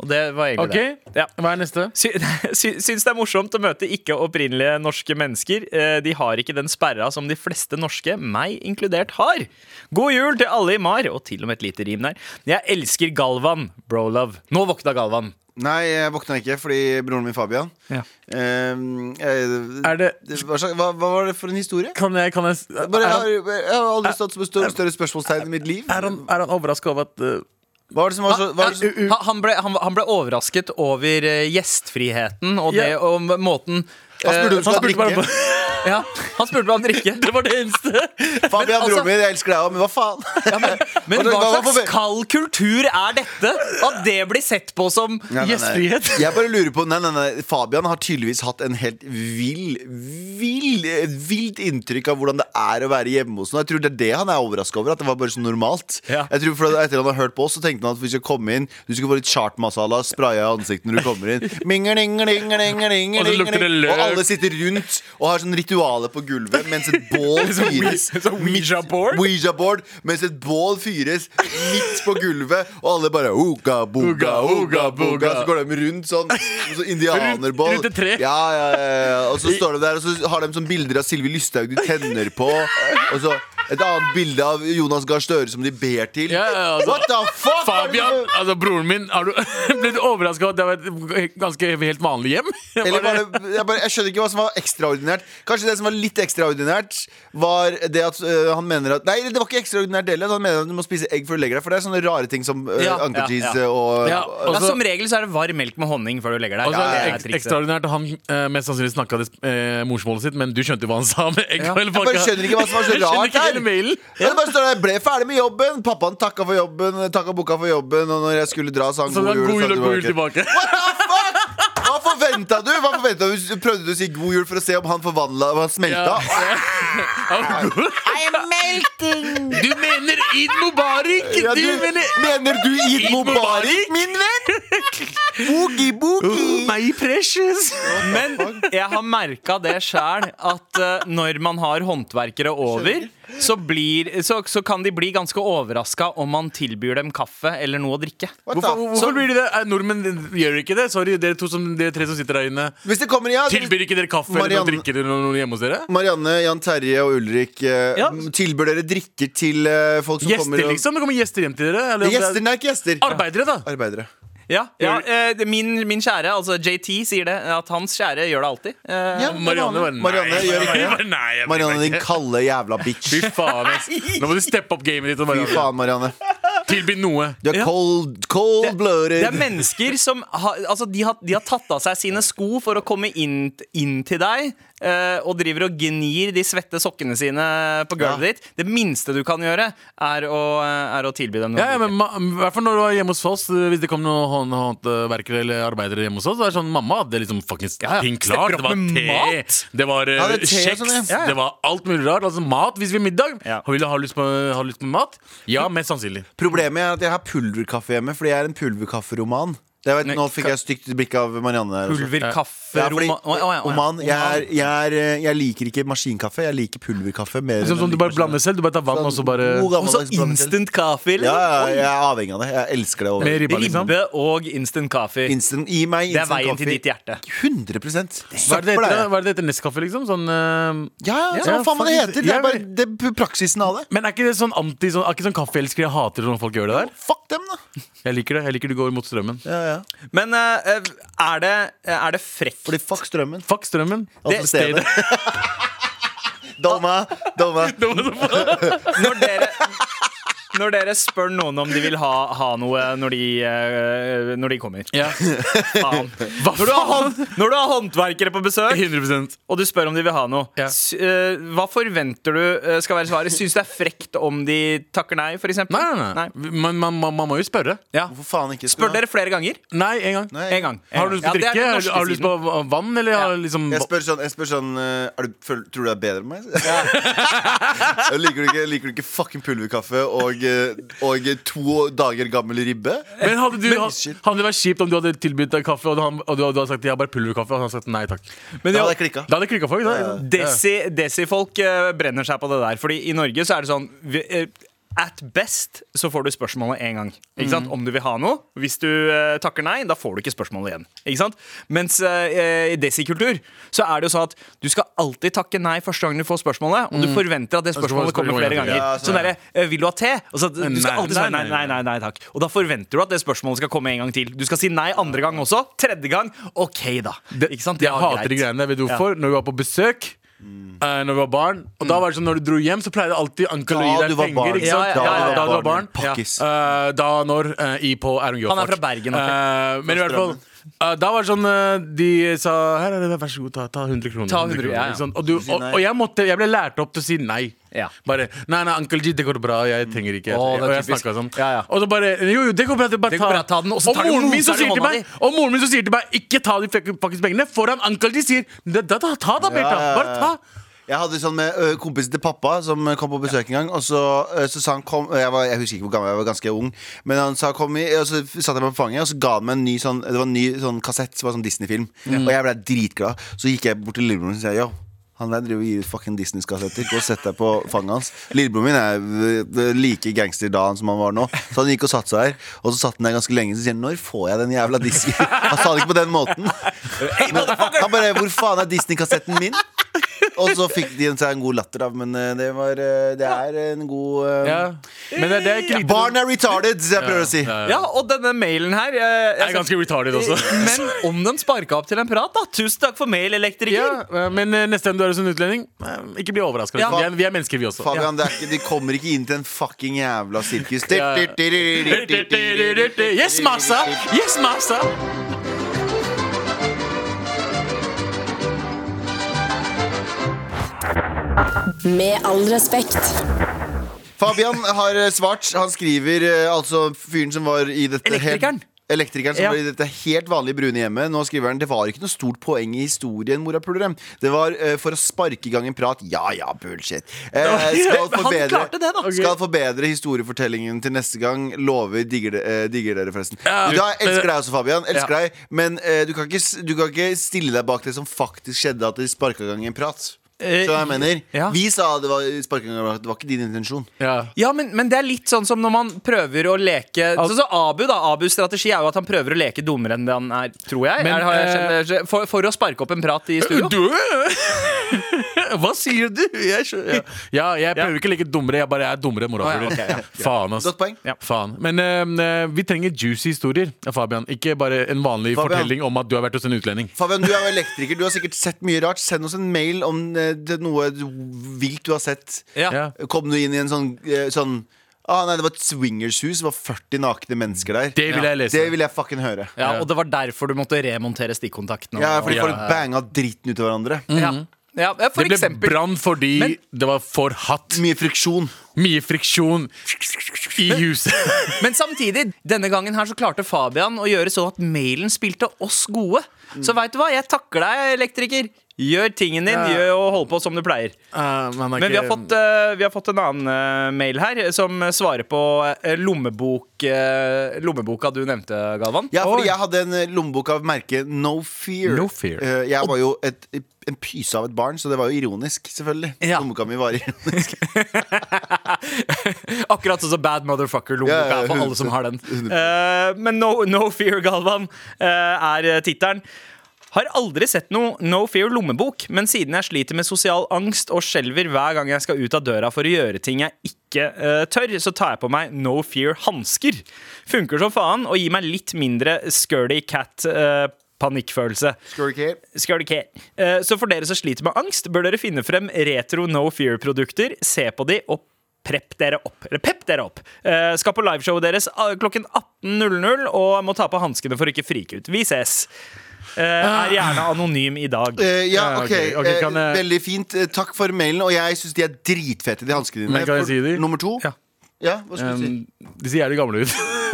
Speaker 4: Og det var egentlig
Speaker 3: Ok,
Speaker 4: det. Ja.
Speaker 3: Hva er neste?
Speaker 4: Sy sy syns det er morsomt å møte ikke opprinnelige norske mennesker. Eh, De har ikke den sperra som de fleste norske, meg inkludert, har. God jul til alle i MAR, og til og med et lite rim der. Jeg elsker Galvan, brolove. Nå våkna Galvan.
Speaker 2: Nei, jeg våkna ikke fordi broren min Fabian
Speaker 4: Ja.
Speaker 2: Ehm, jeg-
Speaker 3: Er det
Speaker 2: hva, slags- hva, hva var det for en historie?
Speaker 3: Kan jeg, kan jeg s- er,
Speaker 2: Bare, jeg, har,
Speaker 3: han,
Speaker 2: jeg har aldri stått som et større, større spørsmålstegn i mitt liv.
Speaker 3: er, han, er han overraska over at uh,
Speaker 2: Hva var det som var så Altså, hva var det som,
Speaker 4: Han, han, ble, han, han ble overrasket over eh, gjestfriheten og det
Speaker 3: Ja.
Speaker 4: og måten
Speaker 2: Han spurte om du
Speaker 4: eh,
Speaker 2: skulle
Speaker 4: han spurte
Speaker 2: drikke.
Speaker 4: bare- Ja, han spurte meg om drikke. Det var det eneste.
Speaker 2: Fabian,
Speaker 4: altså-
Speaker 2: broren min, jeg elsker deg òg, men hva faen?
Speaker 4: Men
Speaker 2: Og det-
Speaker 4: hva
Speaker 2: hva var
Speaker 4: slags
Speaker 2: forve-
Speaker 4: kald kultur er dette? At det blir sett på som
Speaker 2: Nei, nei, nei.
Speaker 4: gjestfrihet?
Speaker 2: Jeg bare lurer på Nei, nei, nei. Fabian har tydeligvis hatt en helt vill, vill, et vilt inntrykk av hvordan det er å være hjemme hos noen. Jeg tror det er det han er overraska over. At det var bare så normalt.
Speaker 4: Ja.
Speaker 2: Jeg tror for Etter han har hørt på oss, så tenkte han at vi skal komme inn, du skal få litt chart masala, spraya i ansiktet når du kommer inn. Mingelingelingelingelingeling.
Speaker 3: Og så lukter det løk.
Speaker 2: Og alle sitter rundt og har sånn ritualer på gulvet mens et bål fyres.
Speaker 4: Ouija-board?
Speaker 2: Ouija-board mens et bål fyres midt på gulvet, og alle bare Uga, buga, uga, buga. Så går de rundt sånn. og Så indianerbål.
Speaker 3: Rundt- rundt et tre.
Speaker 2: Ja, ja, ja, ja. Og så står de der, og så har de sånn bilder av Sylvi Lysthaug de tenner på. Og så et annet bilde av Jonas Gahr Støre som de ber til.
Speaker 3: Ja, ja, altså.
Speaker 2: What the fuck?
Speaker 3: Fabian, altså broren min, har du blitt overraska over at det var et ganske helt vanlig hjem?
Speaker 2: Eller var det, jeg, bare, jeg skjønner ikke hva som var ekstraordinært. Kanskje det som var litt ekstraordinært, var det at øh, han mener at Nei, det var ikke ekstraordinært heller. at Han mener at du må spise egg før du legger deg. For det er sånne rare ting som øh,
Speaker 4: Ja,
Speaker 2: anker
Speaker 4: ja,
Speaker 2: cheese
Speaker 4: ja.
Speaker 2: og Altså-
Speaker 3: Ja, og
Speaker 4: ja,
Speaker 3: så-
Speaker 4: som regel så er det varm melk med honning før du legger deg.
Speaker 3: Altså,
Speaker 4: det er
Speaker 3: ek
Speaker 4: trikset.
Speaker 3: ekstraordinært Han eh, mest sannsynlig snakka det eh, morsmålet sitt, men du skjønte jo hva han sa. Med egg, og hele
Speaker 2: Jeg bare
Speaker 3: pakka.
Speaker 2: skjønner ikke hva som var så
Speaker 3: Jeg skjønner
Speaker 2: rart
Speaker 3: ikke
Speaker 2: her.
Speaker 3: hele mailen.
Speaker 2: Ja, det bare står der, ble ferdig med jobben, pappaen takka for jobben, takka boka for jobben, og når jeg skulle dra, sa han
Speaker 3: Så det
Speaker 2: god
Speaker 3: var
Speaker 2: jul. sa
Speaker 3: god jul og
Speaker 2: han
Speaker 3: god jul tilbake.
Speaker 2: Hva forventa du? Hva forventet du? Prøvde du å si god jul for å se om han forvandla om han smelta?
Speaker 3: Du mener Eid Mubarak!
Speaker 2: Ja,
Speaker 3: du,
Speaker 2: du,
Speaker 3: mener
Speaker 2: mener du Eid Mubarak, min venn? Boogie, boogie.
Speaker 3: My precious!
Speaker 4: Men jeg har merka det sjæl, at eh, når man har håndverkere over, så, blir, så, så kan de bli ganske overraska om man tilbyr dem kaffe eller noe å drikke.
Speaker 2: What
Speaker 3: Hvorfor,
Speaker 2: the-
Speaker 3: hvorfor blir de det? Eh, Nordmenn gjør ikke det. Sorry, dere, to som, dere tre som sitter der inne.
Speaker 2: Hvis det kommer, ja
Speaker 3: Tilbyr ikke dere kaffe eller noe
Speaker 2: Marianne-
Speaker 3: drikke eller noe hjemme hos dere?
Speaker 2: Marianne, Jan Terje og Ulrik eh,
Speaker 4: Ja.
Speaker 2: Tilbyr dere drikker til eh, folk som kommer
Speaker 3: Gjester,
Speaker 2: og-
Speaker 3: liksom? Det kommer gjester hjem til dere? eller om det er-
Speaker 2: Gjester, nei, ikke gjester
Speaker 3: Arbeidere, da!
Speaker 2: Arbeidere
Speaker 4: Ja, ja eh, det- min, min kjære, altså JT, sier det. At hans kjære gjør det alltid. Eh,
Speaker 2: Ja,
Speaker 3: Marianne var
Speaker 2: Marianne gjør ikke det.
Speaker 3: Nei, jeg blir
Speaker 2: Marianne,
Speaker 3: ikke.
Speaker 2: din kalde jævla bitch
Speaker 3: Fy faen, ass. Nå må du steppe opp gamet ditt og
Speaker 2: Fy
Speaker 3: bare
Speaker 2: faen, Marianne
Speaker 3: tilby noe.
Speaker 2: Du er cold, cold-blooded
Speaker 4: Det er mennesker som har, altså de har, de har tatt av seg sine sko for å komme inn, inn til deg, eh, og driver og gnir de svette sokkene sine på gulvet
Speaker 2: Ja.
Speaker 4: ditt. Det minste du kan gjøre, er å, eh, er å tilby dem noe.
Speaker 3: Ja, ja, men ma- I hvert fall når du var hjemme hos oss, hvis det kom noen hånd- håndverkere eller arbeidere hjemme hos oss, så er det sånn mamma hadde liksom fuckings ting klart. Det var te, det var eh,
Speaker 2: Ja, det er te og
Speaker 3: kjeks,
Speaker 2: sånn, ja.
Speaker 3: det var alt mulig rart. Altså mat hvis vi har middag.
Speaker 4: Ja.
Speaker 3: Vil du ha lyst på, ha lyst på mat? Ja, mest sannsynlig.
Speaker 2: Problemet er at jeg har pulverkaffe hjemme Fordi jeg er en pulverkafferoman Det vet, Nå fikk jeg et stygt blikk av Marianne her også.
Speaker 4: Pulver, kaffe,
Speaker 2: Ja, fordi,
Speaker 4: roman Å, å, ja, å, ja.
Speaker 2: Oman, jeg, er, jeg, er, eh, jeg liker ikke maskinkaffe Jeg liker pulverkaffe mer
Speaker 3: Liksom
Speaker 2: enn
Speaker 3: sånn Du
Speaker 2: jeg
Speaker 3: bare
Speaker 2: liker
Speaker 3: blander selv. Du bare tar vann, og så bare
Speaker 2: God
Speaker 4: Og så
Speaker 2: gammeldags blanding selv.
Speaker 4: instant kaffe,
Speaker 2: ja,
Speaker 4: eller?
Speaker 2: ja, jeg er avhengig av det Jeg elsker det
Speaker 3: Med
Speaker 2: over
Speaker 3: ribba, liksom.
Speaker 4: Ribbe og instant kaffe.
Speaker 2: Instant, gi meg
Speaker 4: Det er
Speaker 2: instant
Speaker 4: veien til
Speaker 2: coffee.
Speaker 4: ditt hjerte.
Speaker 2: 100
Speaker 3: Hva er
Speaker 2: Søppel er
Speaker 3: det det heter? da?
Speaker 2: jeg.
Speaker 3: Hva er det det heter? Nestkaffe, liksom? Sånn eh,
Speaker 2: Ja, ja,
Speaker 3: Ja,
Speaker 2: hva faen hva det
Speaker 3: faktisk,
Speaker 2: heter? Det
Speaker 3: jeg
Speaker 2: er bare det er p- praksisen av det.
Speaker 3: Men er ikke det sånn anti sånn, Er ikke sånn kaffeelskere jeg hater når folk gjør det der?
Speaker 2: Fuck dem, da.
Speaker 3: Jeg liker det. Jeg liker du går mot strømmen.
Speaker 2: Ja, ja.
Speaker 4: Men eh, er det, eh, er det frekt?
Speaker 2: Fordi fuck strømmen.
Speaker 3: Fuck strømmen.
Speaker 2: Altså stedet. Dolma, dolma.
Speaker 4: Når dere, når dere spør noen om de vil ha, ha noe når de, eh, når de kommer faen. Når, du har hånd, når du har håndverkere på besøk,
Speaker 3: 100
Speaker 4: og du spør om de vil ha noe,
Speaker 3: Ja.
Speaker 4: s- eh, hva forventer du eh, skal være svaret? Syns du det er frekt om de takker nei, f.eks.?
Speaker 3: Nei, nei, nei. Men man, man, man må jo spørre.
Speaker 2: Hvorfor faen ikke?
Speaker 4: Spør dere flere ganger?
Speaker 3: Nei, en gang.
Speaker 2: Nei.
Speaker 4: En gang. En
Speaker 3: Har du lyst
Speaker 4: gang.
Speaker 3: til å
Speaker 4: Ja, det er
Speaker 3: drikke? Har
Speaker 4: den
Speaker 3: du-
Speaker 4: norske
Speaker 3: har du lyst
Speaker 4: siden.
Speaker 3: på v- vann, eller har du liksom
Speaker 2: Jeg spør sånn, jeg spør sånn eh, er du, føl, Tror du det er bedre enn meg? liker, du ikke, liker du ikke fucking pulverkaffe og, eh, og to dager gammel ribbe?
Speaker 3: Men hadde, du, hadde,
Speaker 2: Shit.
Speaker 3: hadde det vært kjipt om du hadde tilbudt deg kaffe, og du, han- og du, og du hadde sagt 'jeg har bare pulverkaffe', og han hadde sagt 'nei takk'?
Speaker 4: Men
Speaker 2: Da
Speaker 4: ja,
Speaker 2: hadde jeg klikka.
Speaker 3: Da hadde klikka folk. Da.
Speaker 4: Desi- Desi-folk eh, brenner seg på det der. Fordi i Norge så er det sånn vi, eh, At best så får du spørsmålet én gang. Ikke
Speaker 3: Mm.
Speaker 4: sant? Om du vil ha noe. Hvis du eh, takker nei, da får du ikke spørsmålet igjen. Ikke sant? Mens eh, i desi-kultur så er det jo sånn at du skal alltid takke nei første gang du får
Speaker 3: Mm.
Speaker 4: spørsmålet. Og du forventer at det
Speaker 3: skal du få
Speaker 4: spørsmålet kommer
Speaker 3: spørsmålet
Speaker 4: flere
Speaker 3: igjen.
Speaker 4: ganger.
Speaker 2: Ja,
Speaker 4: sånn
Speaker 2: sånn
Speaker 4: derre eh, Vil du ha te? Og så, du skal
Speaker 3: Nei,
Speaker 4: alltid svare
Speaker 3: nei,
Speaker 4: nei, nei,
Speaker 3: nei,
Speaker 4: nei, nei takk. Og da forventer du at det spørsmålet skal komme en gang til. Du skal si nei andre gang også. Tredje gang, OK, da. Ikke sant? Det
Speaker 3: jeg
Speaker 4: var
Speaker 3: hater de
Speaker 4: greit.
Speaker 3: greiene. Vet du hvorfor? Når vi var på besøk. eh, når vi var barn. Og
Speaker 4: Mm.
Speaker 3: da var det sånn når du dro hjem, så pleide alltid onkel å
Speaker 2: Da
Speaker 3: gi
Speaker 2: du
Speaker 3: deg
Speaker 2: var barn.
Speaker 3: penger. Ikke sant?
Speaker 4: Ja, ja, ja, ja.
Speaker 3: Da du var barn.
Speaker 2: Pakkis.
Speaker 3: Eh, da når eh, i på Erung Joffart.
Speaker 4: Han er fra Bergen, ok.
Speaker 3: Eh, men i hvert fall eh, da var det sånn eh, De sa Her er det, vær så god, ta, ta 100 kroner.
Speaker 4: Ta 100, ja, ja.
Speaker 3: Ikke sant? Og, du, og, og jeg, måtte, jeg ble lært opp til å si nei.
Speaker 4: Ja.
Speaker 3: Bare Nei, nei, onkel G, det går bra. Jeg trenger ikke.
Speaker 4: Å, det er
Speaker 3: og jeg
Speaker 4: typisk.
Speaker 3: snakket sånn.
Speaker 4: Ja, ja.
Speaker 3: Og så bare Jo, jo, det går bra. Det bare
Speaker 4: Det går bra, ta den, og så tar du
Speaker 3: moren min
Speaker 4: moser
Speaker 3: så
Speaker 4: i
Speaker 3: sier til
Speaker 4: hånda
Speaker 3: meg
Speaker 4: di.
Speaker 3: Og moren min så sier til meg Ikke ta de fuck- fuckings pengene. Foran onkel G sier Da, da, da, ta da, Bertha.
Speaker 2: ja, ja.
Speaker 3: Bare ta.
Speaker 2: Jeg hadde sånn med ø, kompisen til pappa som ø, kom på besøk en gang. Og så, ø, så sa han kom ø, jeg, var, jeg husker ikke hvor gammel jeg var, ganske ung. Men han sa kom i, og så satt jeg meg på fanget, og så ga han meg en ny sånn Det var en ny sånn kassett som var sånn Disney-film. Og jeg ble dritglad. Så gikk jeg bort til lillebroren min og sa yo. Han der driver og gir ut fucking Disney-kassetter. Gå og sett deg på fanget hans. Lillebroren min er ø, like gangster da han som han var nå. Så han gikk og satte seg her. Og så satt han der ganske lenge. Så sier han når får jeg den jævla Disney? Han sa det ikke på den måten. Men han bare hvor faen er Disney-kassetten min? Og så fikk de seg en god latter av, men eh, det, var, eh, det er en god eh,
Speaker 3: Ja. Men det, det er ikke lite
Speaker 2: Barn er retarded, som jeg prøver å si.
Speaker 4: Ja, og denne mailen her eh, jeg,
Speaker 3: Jeg er ganske retarded også.
Speaker 4: Men om den sparka opp til en prat, da. Tusen takk for mail, elektriker.
Speaker 3: Ja, eh, men eh, neste gang du er hos en utlending, eh, ikke bli overraska.
Speaker 4: Ja.
Speaker 3: Vi, er- vi er mennesker, vi også.
Speaker 2: Fabian, det er ikke, de kommer ikke inn til en fucking jævla sirkus.
Speaker 3: Ja, ja. Yes, massa! Yes, massa!
Speaker 1: Med all respekt.
Speaker 2: Fabian har eh, svart. Han skriver eh, altså fyren som var i dette
Speaker 4: Elektrikeren.
Speaker 2: Helt, Elektrikeren som
Speaker 4: Ja.
Speaker 2: var i dette helt vanlige brune hjemmet. Nå skriver han det var ikke noe stort poeng i historien. morapulere. Det var eh, for å sparke i gang en prat. Ja ja, bullshit. Eh, skal,
Speaker 4: Han
Speaker 2: forbedre,
Speaker 4: klarte det, da.
Speaker 2: skal forbedre historiefortellingen til neste gang. Lover. Digger, de- eh, digger dere, forresten.
Speaker 3: Ja.
Speaker 2: Du, da, jeg elsker deg også, Fabian. Elsker deg. Men eh, du, kan ikke, s- du kan ikke stille deg bak det som faktisk skjedde, at de sparka i gang en prat. Så jeg mener,
Speaker 4: Eh, ja.
Speaker 2: Vi sa det var sparka i gang en prat. Det var ikke din intensjon.
Speaker 3: Ja.
Speaker 4: Ja, men, men det er litt sånn som når man prøver å leke Sånn som Abu, da. Abus strategi er jo at han prøver å leke dummere enn det han er, tror jeg.
Speaker 3: Men, eh,
Speaker 4: er, har jeg skjønt- for, for å sparke opp en prat i studio.
Speaker 3: Du? Hva sier du? Jeg, skjø- ja. ja, jeg prøver ikke å leke dummere, jeg bare er dummere enn morapuler.
Speaker 4: Å, ja, ok,
Speaker 3: Faen, ass.
Speaker 2: Godt poeng.
Speaker 3: Faen. Men eh, eh, vi trenger juicy historier, Fabian. Ikke bare en vanlig
Speaker 2: Fabian.
Speaker 3: fortelling om at du har vært hos en utlending.
Speaker 2: Fabian, du er jo elektriker. Du har sikkert sett mye rart. Send oss en mail om eh, det- noe vilt du har sett.
Speaker 4: Ja.
Speaker 3: Ja.
Speaker 2: Kom du inn i en sånn, eh, sånn ah, Nei, det var et swingershus. Det var 40 nakne mennesker der.
Speaker 3: Det vil jeg lese.
Speaker 2: Det vil jeg fucking høre.
Speaker 4: Ja, Og det var derfor du måtte remontere stikkontakten. og-
Speaker 2: Ja, fordi
Speaker 3: Ja.
Speaker 2: folk banga dritten ut av hverandre.
Speaker 4: ja. Ja, ja, for
Speaker 3: det ble
Speaker 4: eksempel.
Speaker 3: brann fordi
Speaker 4: Men-
Speaker 3: det var for hatt.
Speaker 2: Mye friksjon.
Speaker 3: Mye friksjon i huset.
Speaker 4: Men samtidig, denne gangen her så klarte Fabian å gjøre sånn at mailen spilte oss gode. Så veit du hva, jeg takker deg, elektriker. Gjør tingen din, gjør og hold på som du pleier. Men vi har fått, eh, vi har fått en annen eh, mail her, som eh, svarer på eh, lommebok, eh, lommeboka du nevnte, Galvan.
Speaker 2: Ja, fordi
Speaker 4: Oi.
Speaker 2: jeg hadde en eh, lommebok av merket No Fear.
Speaker 3: No Fear.
Speaker 2: Eh, Jeg var jo et, en pyse av et barn, så det var jo ironisk, selvfølgelig.
Speaker 4: Ja.
Speaker 2: Lommeboka mi var ironisk.
Speaker 4: Akkurat sånn som Bad Motherfucker-lommeboka
Speaker 2: Ja, ja,
Speaker 4: er for alle som har den. Eh, men No, no Fear, Galvan, eh, er tittelen. Har aldri sett noe No Fear lommebok, men siden jeg sliter med sosial angst og skjelver hver gang jeg skal ut av døra for å gjøre ting jeg ikke eh, tør, så tar jeg på meg No Fear hansker. Funker som faen og gir meg litt mindre Scurdy eh, Cat-panikkfølelse.
Speaker 2: Skal du ikke helt?
Speaker 4: Skal du ikke? Eh, Så for dere som sliter med angst, bør dere finne frem retro no fear-produkter, se på de og Prepp dere opp. Eller pepp dere opp. Eh, skal på liveshowet deres ah, klokken 18.00 og må ta på hanskene for å ikke frike ut. Vi ses. Eh, er gjerne anonym i dag.
Speaker 2: Eh, ja,
Speaker 3: Ja,
Speaker 2: ok.
Speaker 3: ok, ok,
Speaker 2: Eh,
Speaker 3: kan jeg-
Speaker 2: Veldig fint. Eh, Takk for mailen. Og jeg syns de er dritfete, de hanskene dine.
Speaker 3: Men kan jeg si de?
Speaker 2: Nummer to.
Speaker 3: Ja.
Speaker 2: Ja, hva skulle du si?
Speaker 3: Um, de ser jævlig gamle ut.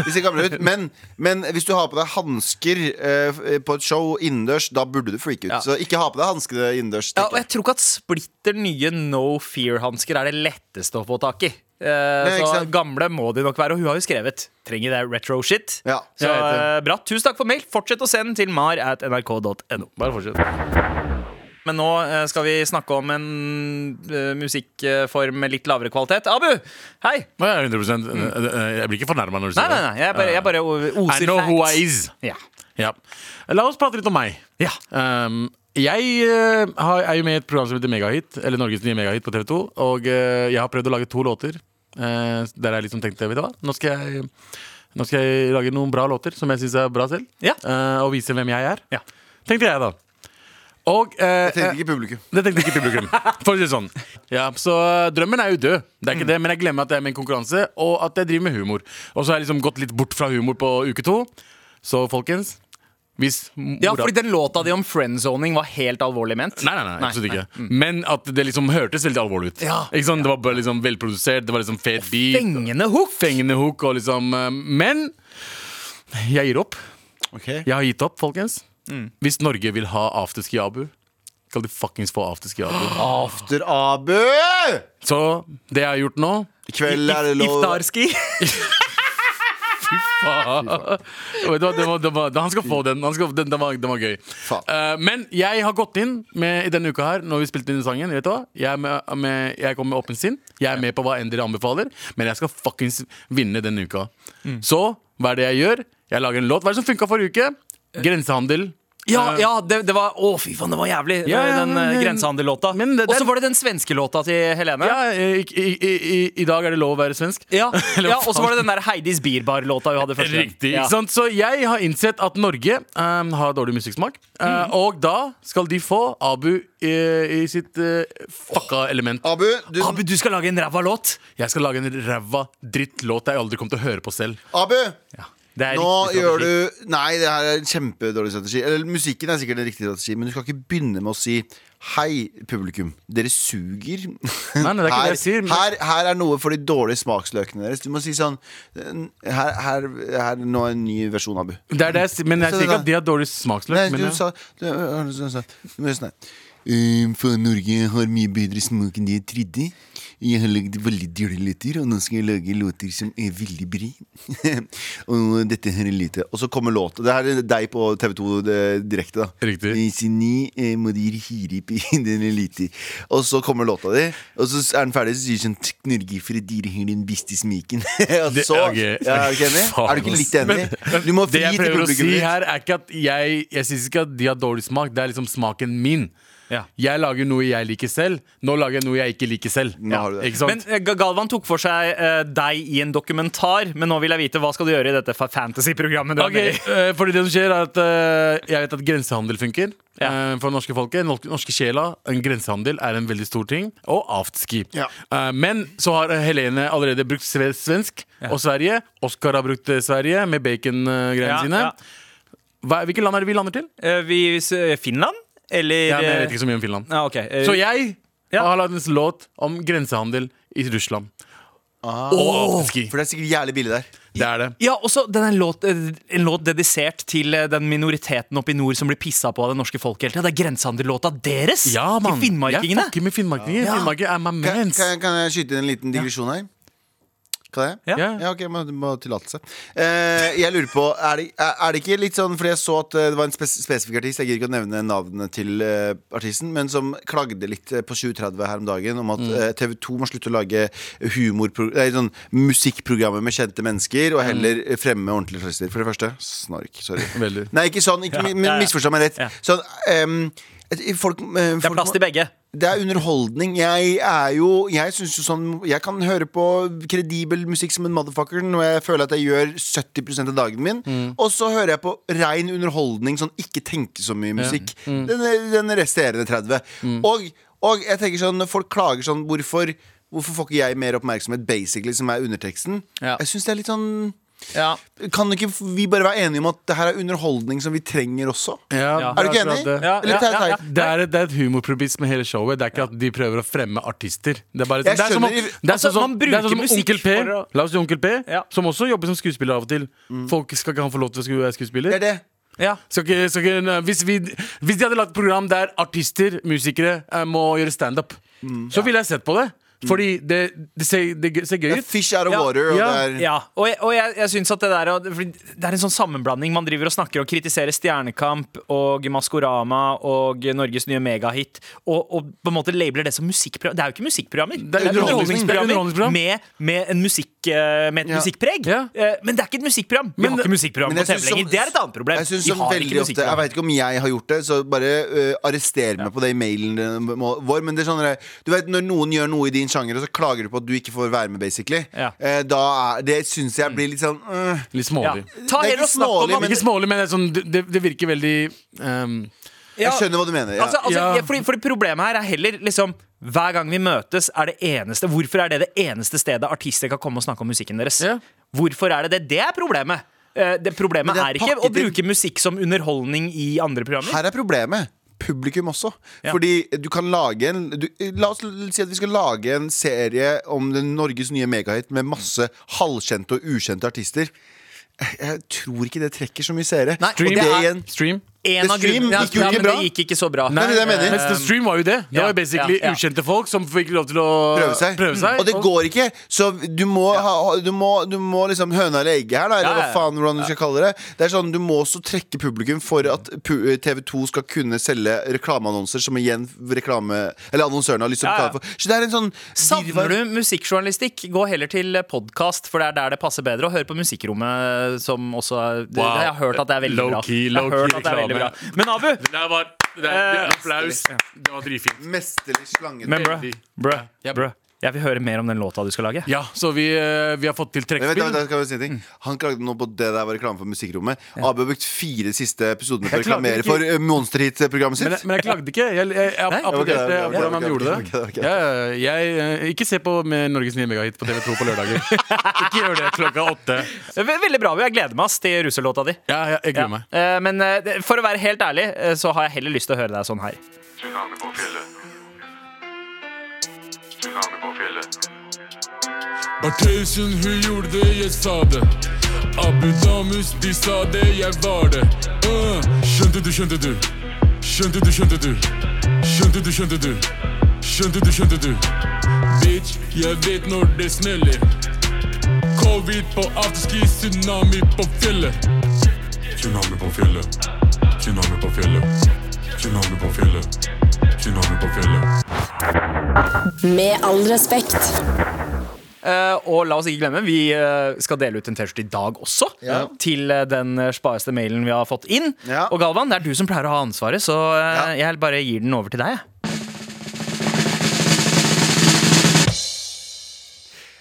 Speaker 2: De ser gamle ut. Men, men hvis du har på deg hansker eh, på et show innendørs, da burde du freake ut. Så ikke ha på deg hanskene innendørs.
Speaker 4: Ja,
Speaker 2: tenker
Speaker 4: og jeg tror ikke at splitter nye No Fear-hansker er det letteste å få tak i. Eh,
Speaker 2: ikke
Speaker 4: så
Speaker 2: sant.
Speaker 4: gamle må de nok være. Og hun har jo skrevet 'Trenger det retro-shit'.
Speaker 2: Ja,
Speaker 4: så
Speaker 3: jeg vet
Speaker 4: eh, bra. Tusen takk for mail. Fortsett å sende til mar at nrk.no.
Speaker 3: Bare fortsett.
Speaker 4: Men nå eh, skal vi snakke om en eh, musikkform med litt lavere kvalitet. Abu! Hei!
Speaker 3: Nå er jeg 100 eh, Jeg blir ikke fornærma når du
Speaker 4: Nei,
Speaker 3: sier
Speaker 4: nei, nei. Jeg bare, jeg bare o- oser
Speaker 3: I know who I
Speaker 4: facts.
Speaker 3: is.
Speaker 4: Ja.
Speaker 3: Ja. La oss prate litt om meg.
Speaker 4: Ja.
Speaker 3: Um, jeg eh, har, er jo med i et program som heter Megahit, eller Norges nye Megahit på TV2. Og eh, jeg har prøvd å lage to låter. eh, der jeg liksom tenkte, vet du hva, nå skal jeg, nå skal jeg lage noen bra låter som jeg syns er bra selv.
Speaker 4: Ja.
Speaker 3: eh, og vise hvem jeg er.
Speaker 4: Ja.
Speaker 3: Tenkte jeg, da. Og eh,
Speaker 2: Jeg tenkte ikke publikum.
Speaker 3: det tenkte ikke publikum. For å si det sånn Mm. ja, Så eh, drømmen er jo død, Det er ikke det men jeg glemmer at jeg er med i en konkurranse, og at jeg driver med humor. Og så har jeg liksom gått litt bort fra humor på uke to. Så folkens hvis
Speaker 4: ja,
Speaker 3: mora-
Speaker 4: fordi den låta di om friendzoning var helt alvorlig ment.
Speaker 3: Nei, nei, nei, Mm. absolutt ikke. Men at det liksom hørtes veldig alvorlig ut.
Speaker 4: Ja.
Speaker 3: Ikke sant? Det var bare liksom velprodusert, det var liksom fet beat.
Speaker 4: Fengende hook!
Speaker 3: Fengende hook og liksom eh, Men jeg gir opp. Jeg har gitt opp, folkens. Hvis Norge vil ha afterski Abu, skal de fuckings få afterski Abu.
Speaker 2: After Abu!
Speaker 3: Så det jeg har gjort nå
Speaker 2: I kveld er det lov
Speaker 4: Iftarski.
Speaker 3: Faen. Vet du hva, det var, det var, Han skal få den. Han skal, den, den, var, den var gøy.
Speaker 2: Faen.
Speaker 3: Eh, men jeg har gått inn med, i denne uka her, når vi spilte inn den sangen. Vet du hva? Jeg, er med, med, jeg kommer med åpent sinn. Jeg er med på hva enn dere anbefaler, men jeg skal fuckings vinne denne uka.
Speaker 4: Mm.
Speaker 3: Så hva er det jeg gjør? Jeg lager en låt. Hva er det som funka forrige uke?
Speaker 4: Eh.
Speaker 3: Grensehandel.
Speaker 4: Ja,
Speaker 3: Eh,
Speaker 4: ja det, det var Å, fy faen, det var jævlig.
Speaker 3: Ja, ja,
Speaker 4: den
Speaker 3: men-
Speaker 4: eh, grensehandellåta.
Speaker 3: Men det-
Speaker 4: Og så
Speaker 3: det-
Speaker 4: var det den svenske låta til Helene.
Speaker 3: Ja, eh, i, i, i, i, I dag er det lov å være svensk.
Speaker 4: Ja,
Speaker 3: Eller hva
Speaker 4: ja, Og så var det den der Heidis Bierbar-låta hun hadde første gang.
Speaker 3: Riktig, Sånn,
Speaker 4: ja.
Speaker 3: ikke sant? Så jeg har innsett at Norge ehm, har dårlig musikksmak. eh,
Speaker 2: Mhm.
Speaker 3: Og da skal de få Abu i, i sitt eh, fucka element.
Speaker 2: Abu, du,
Speaker 4: Abu, du skal lage en ræva låt!
Speaker 3: Jeg skal lage en ræva drittlåt jeg aldri kommer til å høre på selv.
Speaker 2: Abu
Speaker 4: Det er
Speaker 2: nå
Speaker 4: riktig
Speaker 2: gjør
Speaker 4: strategi.
Speaker 2: du Nei, det her er en kjempedårlig strategi. Eller musikken er sikkert en riktig strategi, men du skal ikke begynne med å si Hei, publikum. Dere suger.
Speaker 3: Nei, nei, det er ikke det jeg sier, men-
Speaker 2: her, her er noe for de dårlige smaksløkene deres. Du må si sånn Her, her, her nå er en ny versjon, Abu.
Speaker 3: Det er det jeg, sier, men jeg
Speaker 2: Så
Speaker 3: sier
Speaker 2: det
Speaker 3: ikke at de har dårlig
Speaker 2: Nei,
Speaker 3: smaksløk. Men eh,
Speaker 2: du
Speaker 3: jeg,
Speaker 2: sa Du øh, du- du sa du må gjøre sånn her. Ehm, For Norge har mye bedre smak enn de jeg trodde. Jeg har lagd veldig dårlige låter, og nå skal jeg lage låter som er veldig bra. og dette her er lite. Og så kommer låta. Det her er deg på TV2 det- direkte, da.
Speaker 3: Riktig.
Speaker 2: I sini eh, må de hire opp i den elite. Og så kommer låta di, og så er den ferdig, så sier sånn «Takk, Norge for at dere har den beste smiken. og
Speaker 3: Det-
Speaker 2: så
Speaker 3: ok.
Speaker 2: ja, Er du ikke enig? Er du ikke litt enig? Du må
Speaker 3: det
Speaker 2: fri
Speaker 3: jeg
Speaker 2: til
Speaker 3: prøver å
Speaker 2: publikum.
Speaker 3: si
Speaker 2: ditt.
Speaker 3: her, er ikke at jeg, jeg syns ikke at de har dårlig smak. Det er liksom smaken min.
Speaker 4: Ja.
Speaker 3: Jeg lager noe jeg liker selv. Nå lager jeg noe jeg ikke liker selv.
Speaker 2: Nå har du det.
Speaker 3: Ikke sant?
Speaker 4: Men eh, Ga- Galvan tok for seg eh, deg i en dokumentar, men nå vil jeg vite hva skal du gjøre i dette fa- fantasy-programmet. du er
Speaker 3: Ok,
Speaker 4: med i?
Speaker 3: eh, fordi det som skjer er at eh, Jeg vet at grensehandel funker
Speaker 4: Ja.
Speaker 3: eh, For norske folket, Nor- norske sjela En grensehandel er en veldig stor ting Og afterski
Speaker 2: Ja.
Speaker 3: Eh, Men så har Helene allerede brukt sve- svensk Og Sverige, Oskar har brukt eh, Sverige Med bacon-greiene
Speaker 4: Ja,
Speaker 3: sine
Speaker 4: ja.
Speaker 3: Hva, Hvilke land er det vi lander til?
Speaker 4: Eh, Vi, s- Finland? Eller
Speaker 3: Ja, men jeg vet ikke så mye om Finland
Speaker 4: Ja, ok. Eh,
Speaker 3: Så jeg
Speaker 4: ja.
Speaker 3: har laget en låt om grensehandel i Russland
Speaker 2: Ah.
Speaker 3: Og afterski
Speaker 2: For det er sikkert jævlig billig der.
Speaker 3: Det er det
Speaker 4: Ja, også den er en låt, eh, en låt dedisert til eh, den minoriteten oppe i nord som blir pissa på av det norske folket hele tida. Det er grensehandellåta deres!
Speaker 3: ja, mann.
Speaker 4: til finnmarkingene.
Speaker 3: Jeg fucker med finnmarkingene Finnmarkingene er my
Speaker 2: Kan,
Speaker 3: mans
Speaker 2: kan, jeg- kan jeg skyte inn en liten digresjon her? Kan jeg?
Speaker 4: Ja.
Speaker 2: Ja, ok, må, må ha tillatelse. Eh, jeg lurer på, er det, er er det ikke litt sånn Fordi jeg så at eh, det var en spes spesifikk artist, jeg gidder ikke å nevne navnet til eh, artisten, men som klagde litt eh, på 2030 her om dagen om at
Speaker 4: Mm.
Speaker 2: eh, TV2 må slutte å lage humorpro- nei, sånn musikkprogrammer med kjente mennesker, og heller
Speaker 4: Mm.
Speaker 2: eh, fremme ordentlige artister. For det første, snark. Sorry.
Speaker 3: Veldig.
Speaker 2: Nei, ikke sånn. Ikke, mi- mi- Misforstå meg rett. Sånn ehm, folk, eh,
Speaker 4: Det er
Speaker 2: folk må-
Speaker 4: plass til begge.
Speaker 2: det er underholdning. Jeg er jo Jeg synes jo sånn Jeg kan høre på kredibel musikk som en motherfucker når jeg føler at jeg gjør 70 av dagen min. Og så hører jeg på rein underholdning, sånn ikke tenke så mye musikk. Den, den resterende 30. Og, og jeg tenker sånn når folk klager sånn Hvorfor Hvorfor får ikke jeg mer oppmerksomhet, basically, som er underteksten?
Speaker 4: Ja.
Speaker 2: Jeg syns det er litt sånn
Speaker 4: Ja.
Speaker 2: Kan ikke vi bare være enige om at det her er underholdning som vi trenger også?
Speaker 3: Ja,
Speaker 2: Er du ikke
Speaker 3: det
Speaker 2: enig?
Speaker 3: akkurat det.
Speaker 4: Ja,
Speaker 2: Eller
Speaker 4: ja,
Speaker 2: tar jeg
Speaker 4: ja, ja.
Speaker 2: feil?
Speaker 3: Det er, et- det er et humorproblem med hele showet. Det er ikke at de prøver å fremme artister. Det er bare
Speaker 2: Jeg
Speaker 3: det er som om,
Speaker 2: skjønner-
Speaker 3: det er sånn
Speaker 4: Altså,
Speaker 3: som,
Speaker 4: man
Speaker 3: det er sånn som
Speaker 4: bruker musikk
Speaker 3: Onkel P,
Speaker 4: for å-
Speaker 3: la oss si Onkel P,
Speaker 4: Ja.
Speaker 3: som også jobber som skuespiller av og til. Folk skal ikke han få lov til å sku- være skuespiller?
Speaker 2: Det er det.
Speaker 4: Ja.
Speaker 3: Skal ikke, skal ikke, nei, hvis, vi, hvis de hadde lagt program der artister, musikere, eh, må gjøre standup,
Speaker 4: Mm.
Speaker 3: så ville jeg sett på det. Fordi det, det, ser, det ser gøy
Speaker 2: Det er
Speaker 3: ut.
Speaker 2: fish out of water. Og
Speaker 3: ja,
Speaker 2: det er,
Speaker 4: Ja, og jeg, og jeg, jeg synes at det der er- fordi Det er en sånn sammenblanding. Man driver og snakker og kritiserer Stjernekamp og Maskorama og Norges nye megahit, og, og på en måte labeler det som musikkprogram. Det er jo ikke musikkprogrammer. Det
Speaker 3: underholdning. Det er underholdningsprogram.
Speaker 4: med, med, en musikk, eh, med et
Speaker 2: Ja.
Speaker 4: musikkpreg.
Speaker 3: Ja.
Speaker 4: Eh, Men det er ikke et musikkprogram. Vi har ikke musikkprogram
Speaker 2: Men
Speaker 4: på
Speaker 2: jeg synes
Speaker 4: TV lenger.
Speaker 2: som-
Speaker 4: Det er et annet problem.
Speaker 2: Jeg, synes
Speaker 4: Vi
Speaker 2: som
Speaker 4: har
Speaker 2: veldig
Speaker 4: ikke
Speaker 2: ofte, jeg
Speaker 4: musikkprogram.
Speaker 2: vet ikke om jeg har gjort det, så bare øh, arrester meg på det i mailen din, må- vår. Men det er sånn der, du vet, når noen gjør noe i din sjanger, og så klager du på at du ikke får være med, basically.
Speaker 4: Ja.
Speaker 2: Eh, da er, det syns jeg blir litt sånn øh.
Speaker 3: Litt
Speaker 4: Ja.
Speaker 3: smålig.
Speaker 4: Ta
Speaker 2: Det er ikke
Speaker 4: heller og snakk om
Speaker 2: smålig,
Speaker 4: at
Speaker 2: men-
Speaker 3: Ikke smålig, men det, er sånn, det, det virker veldig ehm,
Speaker 4: Ja.
Speaker 2: Jeg skjønner hva du mener. Ja.
Speaker 4: Altså, altså,
Speaker 3: Ja.
Speaker 4: ja. fordi, fordi problemet her er heller liksom Hver gang vi møtes er det eneste Hvorfor er det det eneste stedet artister kan komme og snakke om musikken deres?
Speaker 3: Ja.
Speaker 4: Hvorfor er det det? Det er problemet. Eh, Det problemet
Speaker 2: Men det er
Speaker 4: er, ikke å
Speaker 2: pakket inn-
Speaker 4: bruke musikk som underholdning i andre programmer.
Speaker 2: Her er problemet. Publikum også.
Speaker 4: Ja.
Speaker 2: Fordi du kan lage en du, La oss l- si at vi skal lage en serie om den Norges nye megahit med masse halvkjente og ukjente artister. Jeg- Jeg tror ikke det trekker så mye seere. Og
Speaker 3: stream,
Speaker 2: det igjen
Speaker 3: stream.
Speaker 4: En av
Speaker 2: The Stream
Speaker 4: grunnene-
Speaker 2: gikk jo
Speaker 4: ja,
Speaker 2: ikke
Speaker 4: men
Speaker 2: bra.
Speaker 4: Det gikk ikke så bra.
Speaker 2: Nei, det er det jeg mener.
Speaker 3: Mens The Stream var jo det. Det
Speaker 4: Eh, ja,
Speaker 3: var jo basically
Speaker 4: ja, ja.
Speaker 3: ukjente folk som fikk lov til å
Speaker 2: prøve seg. Mm.
Speaker 3: seg.
Speaker 2: Og det går ikke. Så du må, ha, ha- du må, du må liksom høna eller egget her, da. Eller
Speaker 4: Ja, ja, ja.
Speaker 2: hva faen hvordan du skal kalle det. Det er sånn, Du må også trekke publikum for at pu- TV2 skal kunne selge reklameannonser som igjen reklame... Eller annonsørene har lyst til å
Speaker 4: Ja, ja.
Speaker 2: betale for. Så det er en sånn
Speaker 4: Savner du musikkjournalistikk, gå heller til podkast, for det er der det passer bedre. Og hør på Musikkrommet, som også er, det,
Speaker 3: Wow.
Speaker 4: Jeg har hørt at det er veldig
Speaker 3: Low
Speaker 4: bra.
Speaker 3: key,
Speaker 4: Jeg har
Speaker 3: low
Speaker 4: hørt
Speaker 3: key
Speaker 4: at det er veldig
Speaker 3: reklame.
Speaker 4: bra. Men Abu,
Speaker 3: der var det
Speaker 4: Eh,
Speaker 3: Applaus. Det var dritfint.
Speaker 2: Mesterlig slange.
Speaker 4: men brø, brø,
Speaker 3: Ja.
Speaker 4: brø, jeg vil høre mer om den låta du skal lage.
Speaker 3: Ja, så vi, eh, vi har fått til
Speaker 2: Men vent,
Speaker 3: trekkspill.
Speaker 2: vent, vent, skal jeg si en ting Han klagde nå på at det der var reklame for Musikkrommet. Abu har brukt fire siste episodene på å
Speaker 3: Jeg klagde
Speaker 2: reklamere
Speaker 3: ikke.
Speaker 2: for eh, Monster Hit-programmet sitt.
Speaker 3: Men, jeg- men jeg klagde ikke. Jeg, jeg, jeg
Speaker 2: ok,
Speaker 3: applauderte
Speaker 2: ok,
Speaker 3: hvordan
Speaker 2: ok,
Speaker 3: han gjorde
Speaker 2: ok, ok, ok.
Speaker 3: det. Jeg, jeg, eh, ikke se på med Norges nye megahit på TV2 på lørdager. ikke gjør det klokka åtte.
Speaker 4: Ve- Veldig bra. Abu. Jeg gleder meg ass, til russelåta di.
Speaker 3: Ja, jeg, jeg gruer meg.
Speaker 4: Eh, Men eh, det- for å være helt ærlig, eh, så har jeg heller lyst til å høre deg sånn her.
Speaker 8: Tsunami på fjellet. Tsunami på fjellet.
Speaker 9: Artesen, hun gjorde det, jeg sa det. Abu Damus, de sa det, jeg var det. Uh. Skjønte du, skjønte du. Skjønte du, skjønte du. Skjønte du, skjønte du. Skjønte du, skjønte du. Bitch, jeg vet når det smeller. Covid på afterski, tsunami på fjellet. Tsunami på fjellet. Tsunami på fjellet. Tsunami på fjellet. Tsunami på fjellet.
Speaker 1: Med all respekt.
Speaker 4: Eh, Og la oss ikke glemme, vi eh, skal dele ut en T-skjorte i dag også.
Speaker 2: Ja.
Speaker 4: Til eh, den eh, spareste mailen vi har fått inn.
Speaker 2: Ja.
Speaker 4: Og Galvan, det er du som pleier å ha ansvaret, så eh, jeg bare gir den over til deg. jeg.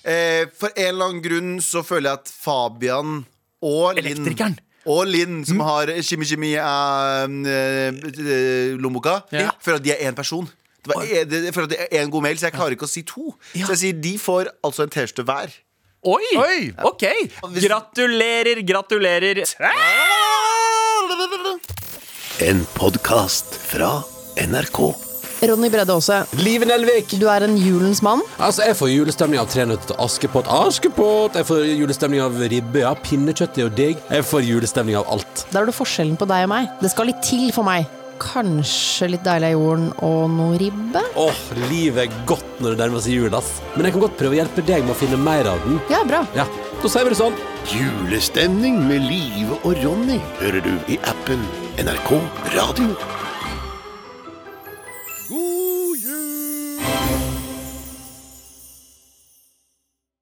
Speaker 2: Eh, for en eller annen grunn så føler jeg at Fabian og Linn
Speaker 4: Elektrikeren.
Speaker 2: Og Linn, som har Shimmy Shimmy eh, Lomoka, føler at de er én person. Det var, jeg, jeg føler at det er én god mail, så jeg klarer ikke å si to. Så jeg sier de får altså en T-skjorte hver.
Speaker 4: Oi!
Speaker 3: Oi!
Speaker 4: Ok.
Speaker 2: Hvis-
Speaker 4: Gratulerer, gratulerer.
Speaker 10: En podkast fra NRK.
Speaker 11: Ronny Bredde Aase,
Speaker 10: Liven Elvik.
Speaker 11: du er en julens mann.
Speaker 9: Altså, Jeg får julestemning av Tre nøtter til Askepott. Askepott! Jeg får julestemning av ribbe. Ja, pinnekjøtt er jo digg. Jeg får julestemning av alt.
Speaker 11: Der er du forskjellen på deg og meg. Det skal litt til for meg. Kanskje litt deilig av jorden og noe ribbe?
Speaker 9: Åh, livet er godt når det nærmer seg jul, ass. Men jeg kan godt prøve å hjelpe deg med å finne mer av den.
Speaker 11: Ja, bra.
Speaker 9: Ja, Da sier vi det sånn.
Speaker 10: Julestemning med Live og Ronny hører du i appen NRK Radio.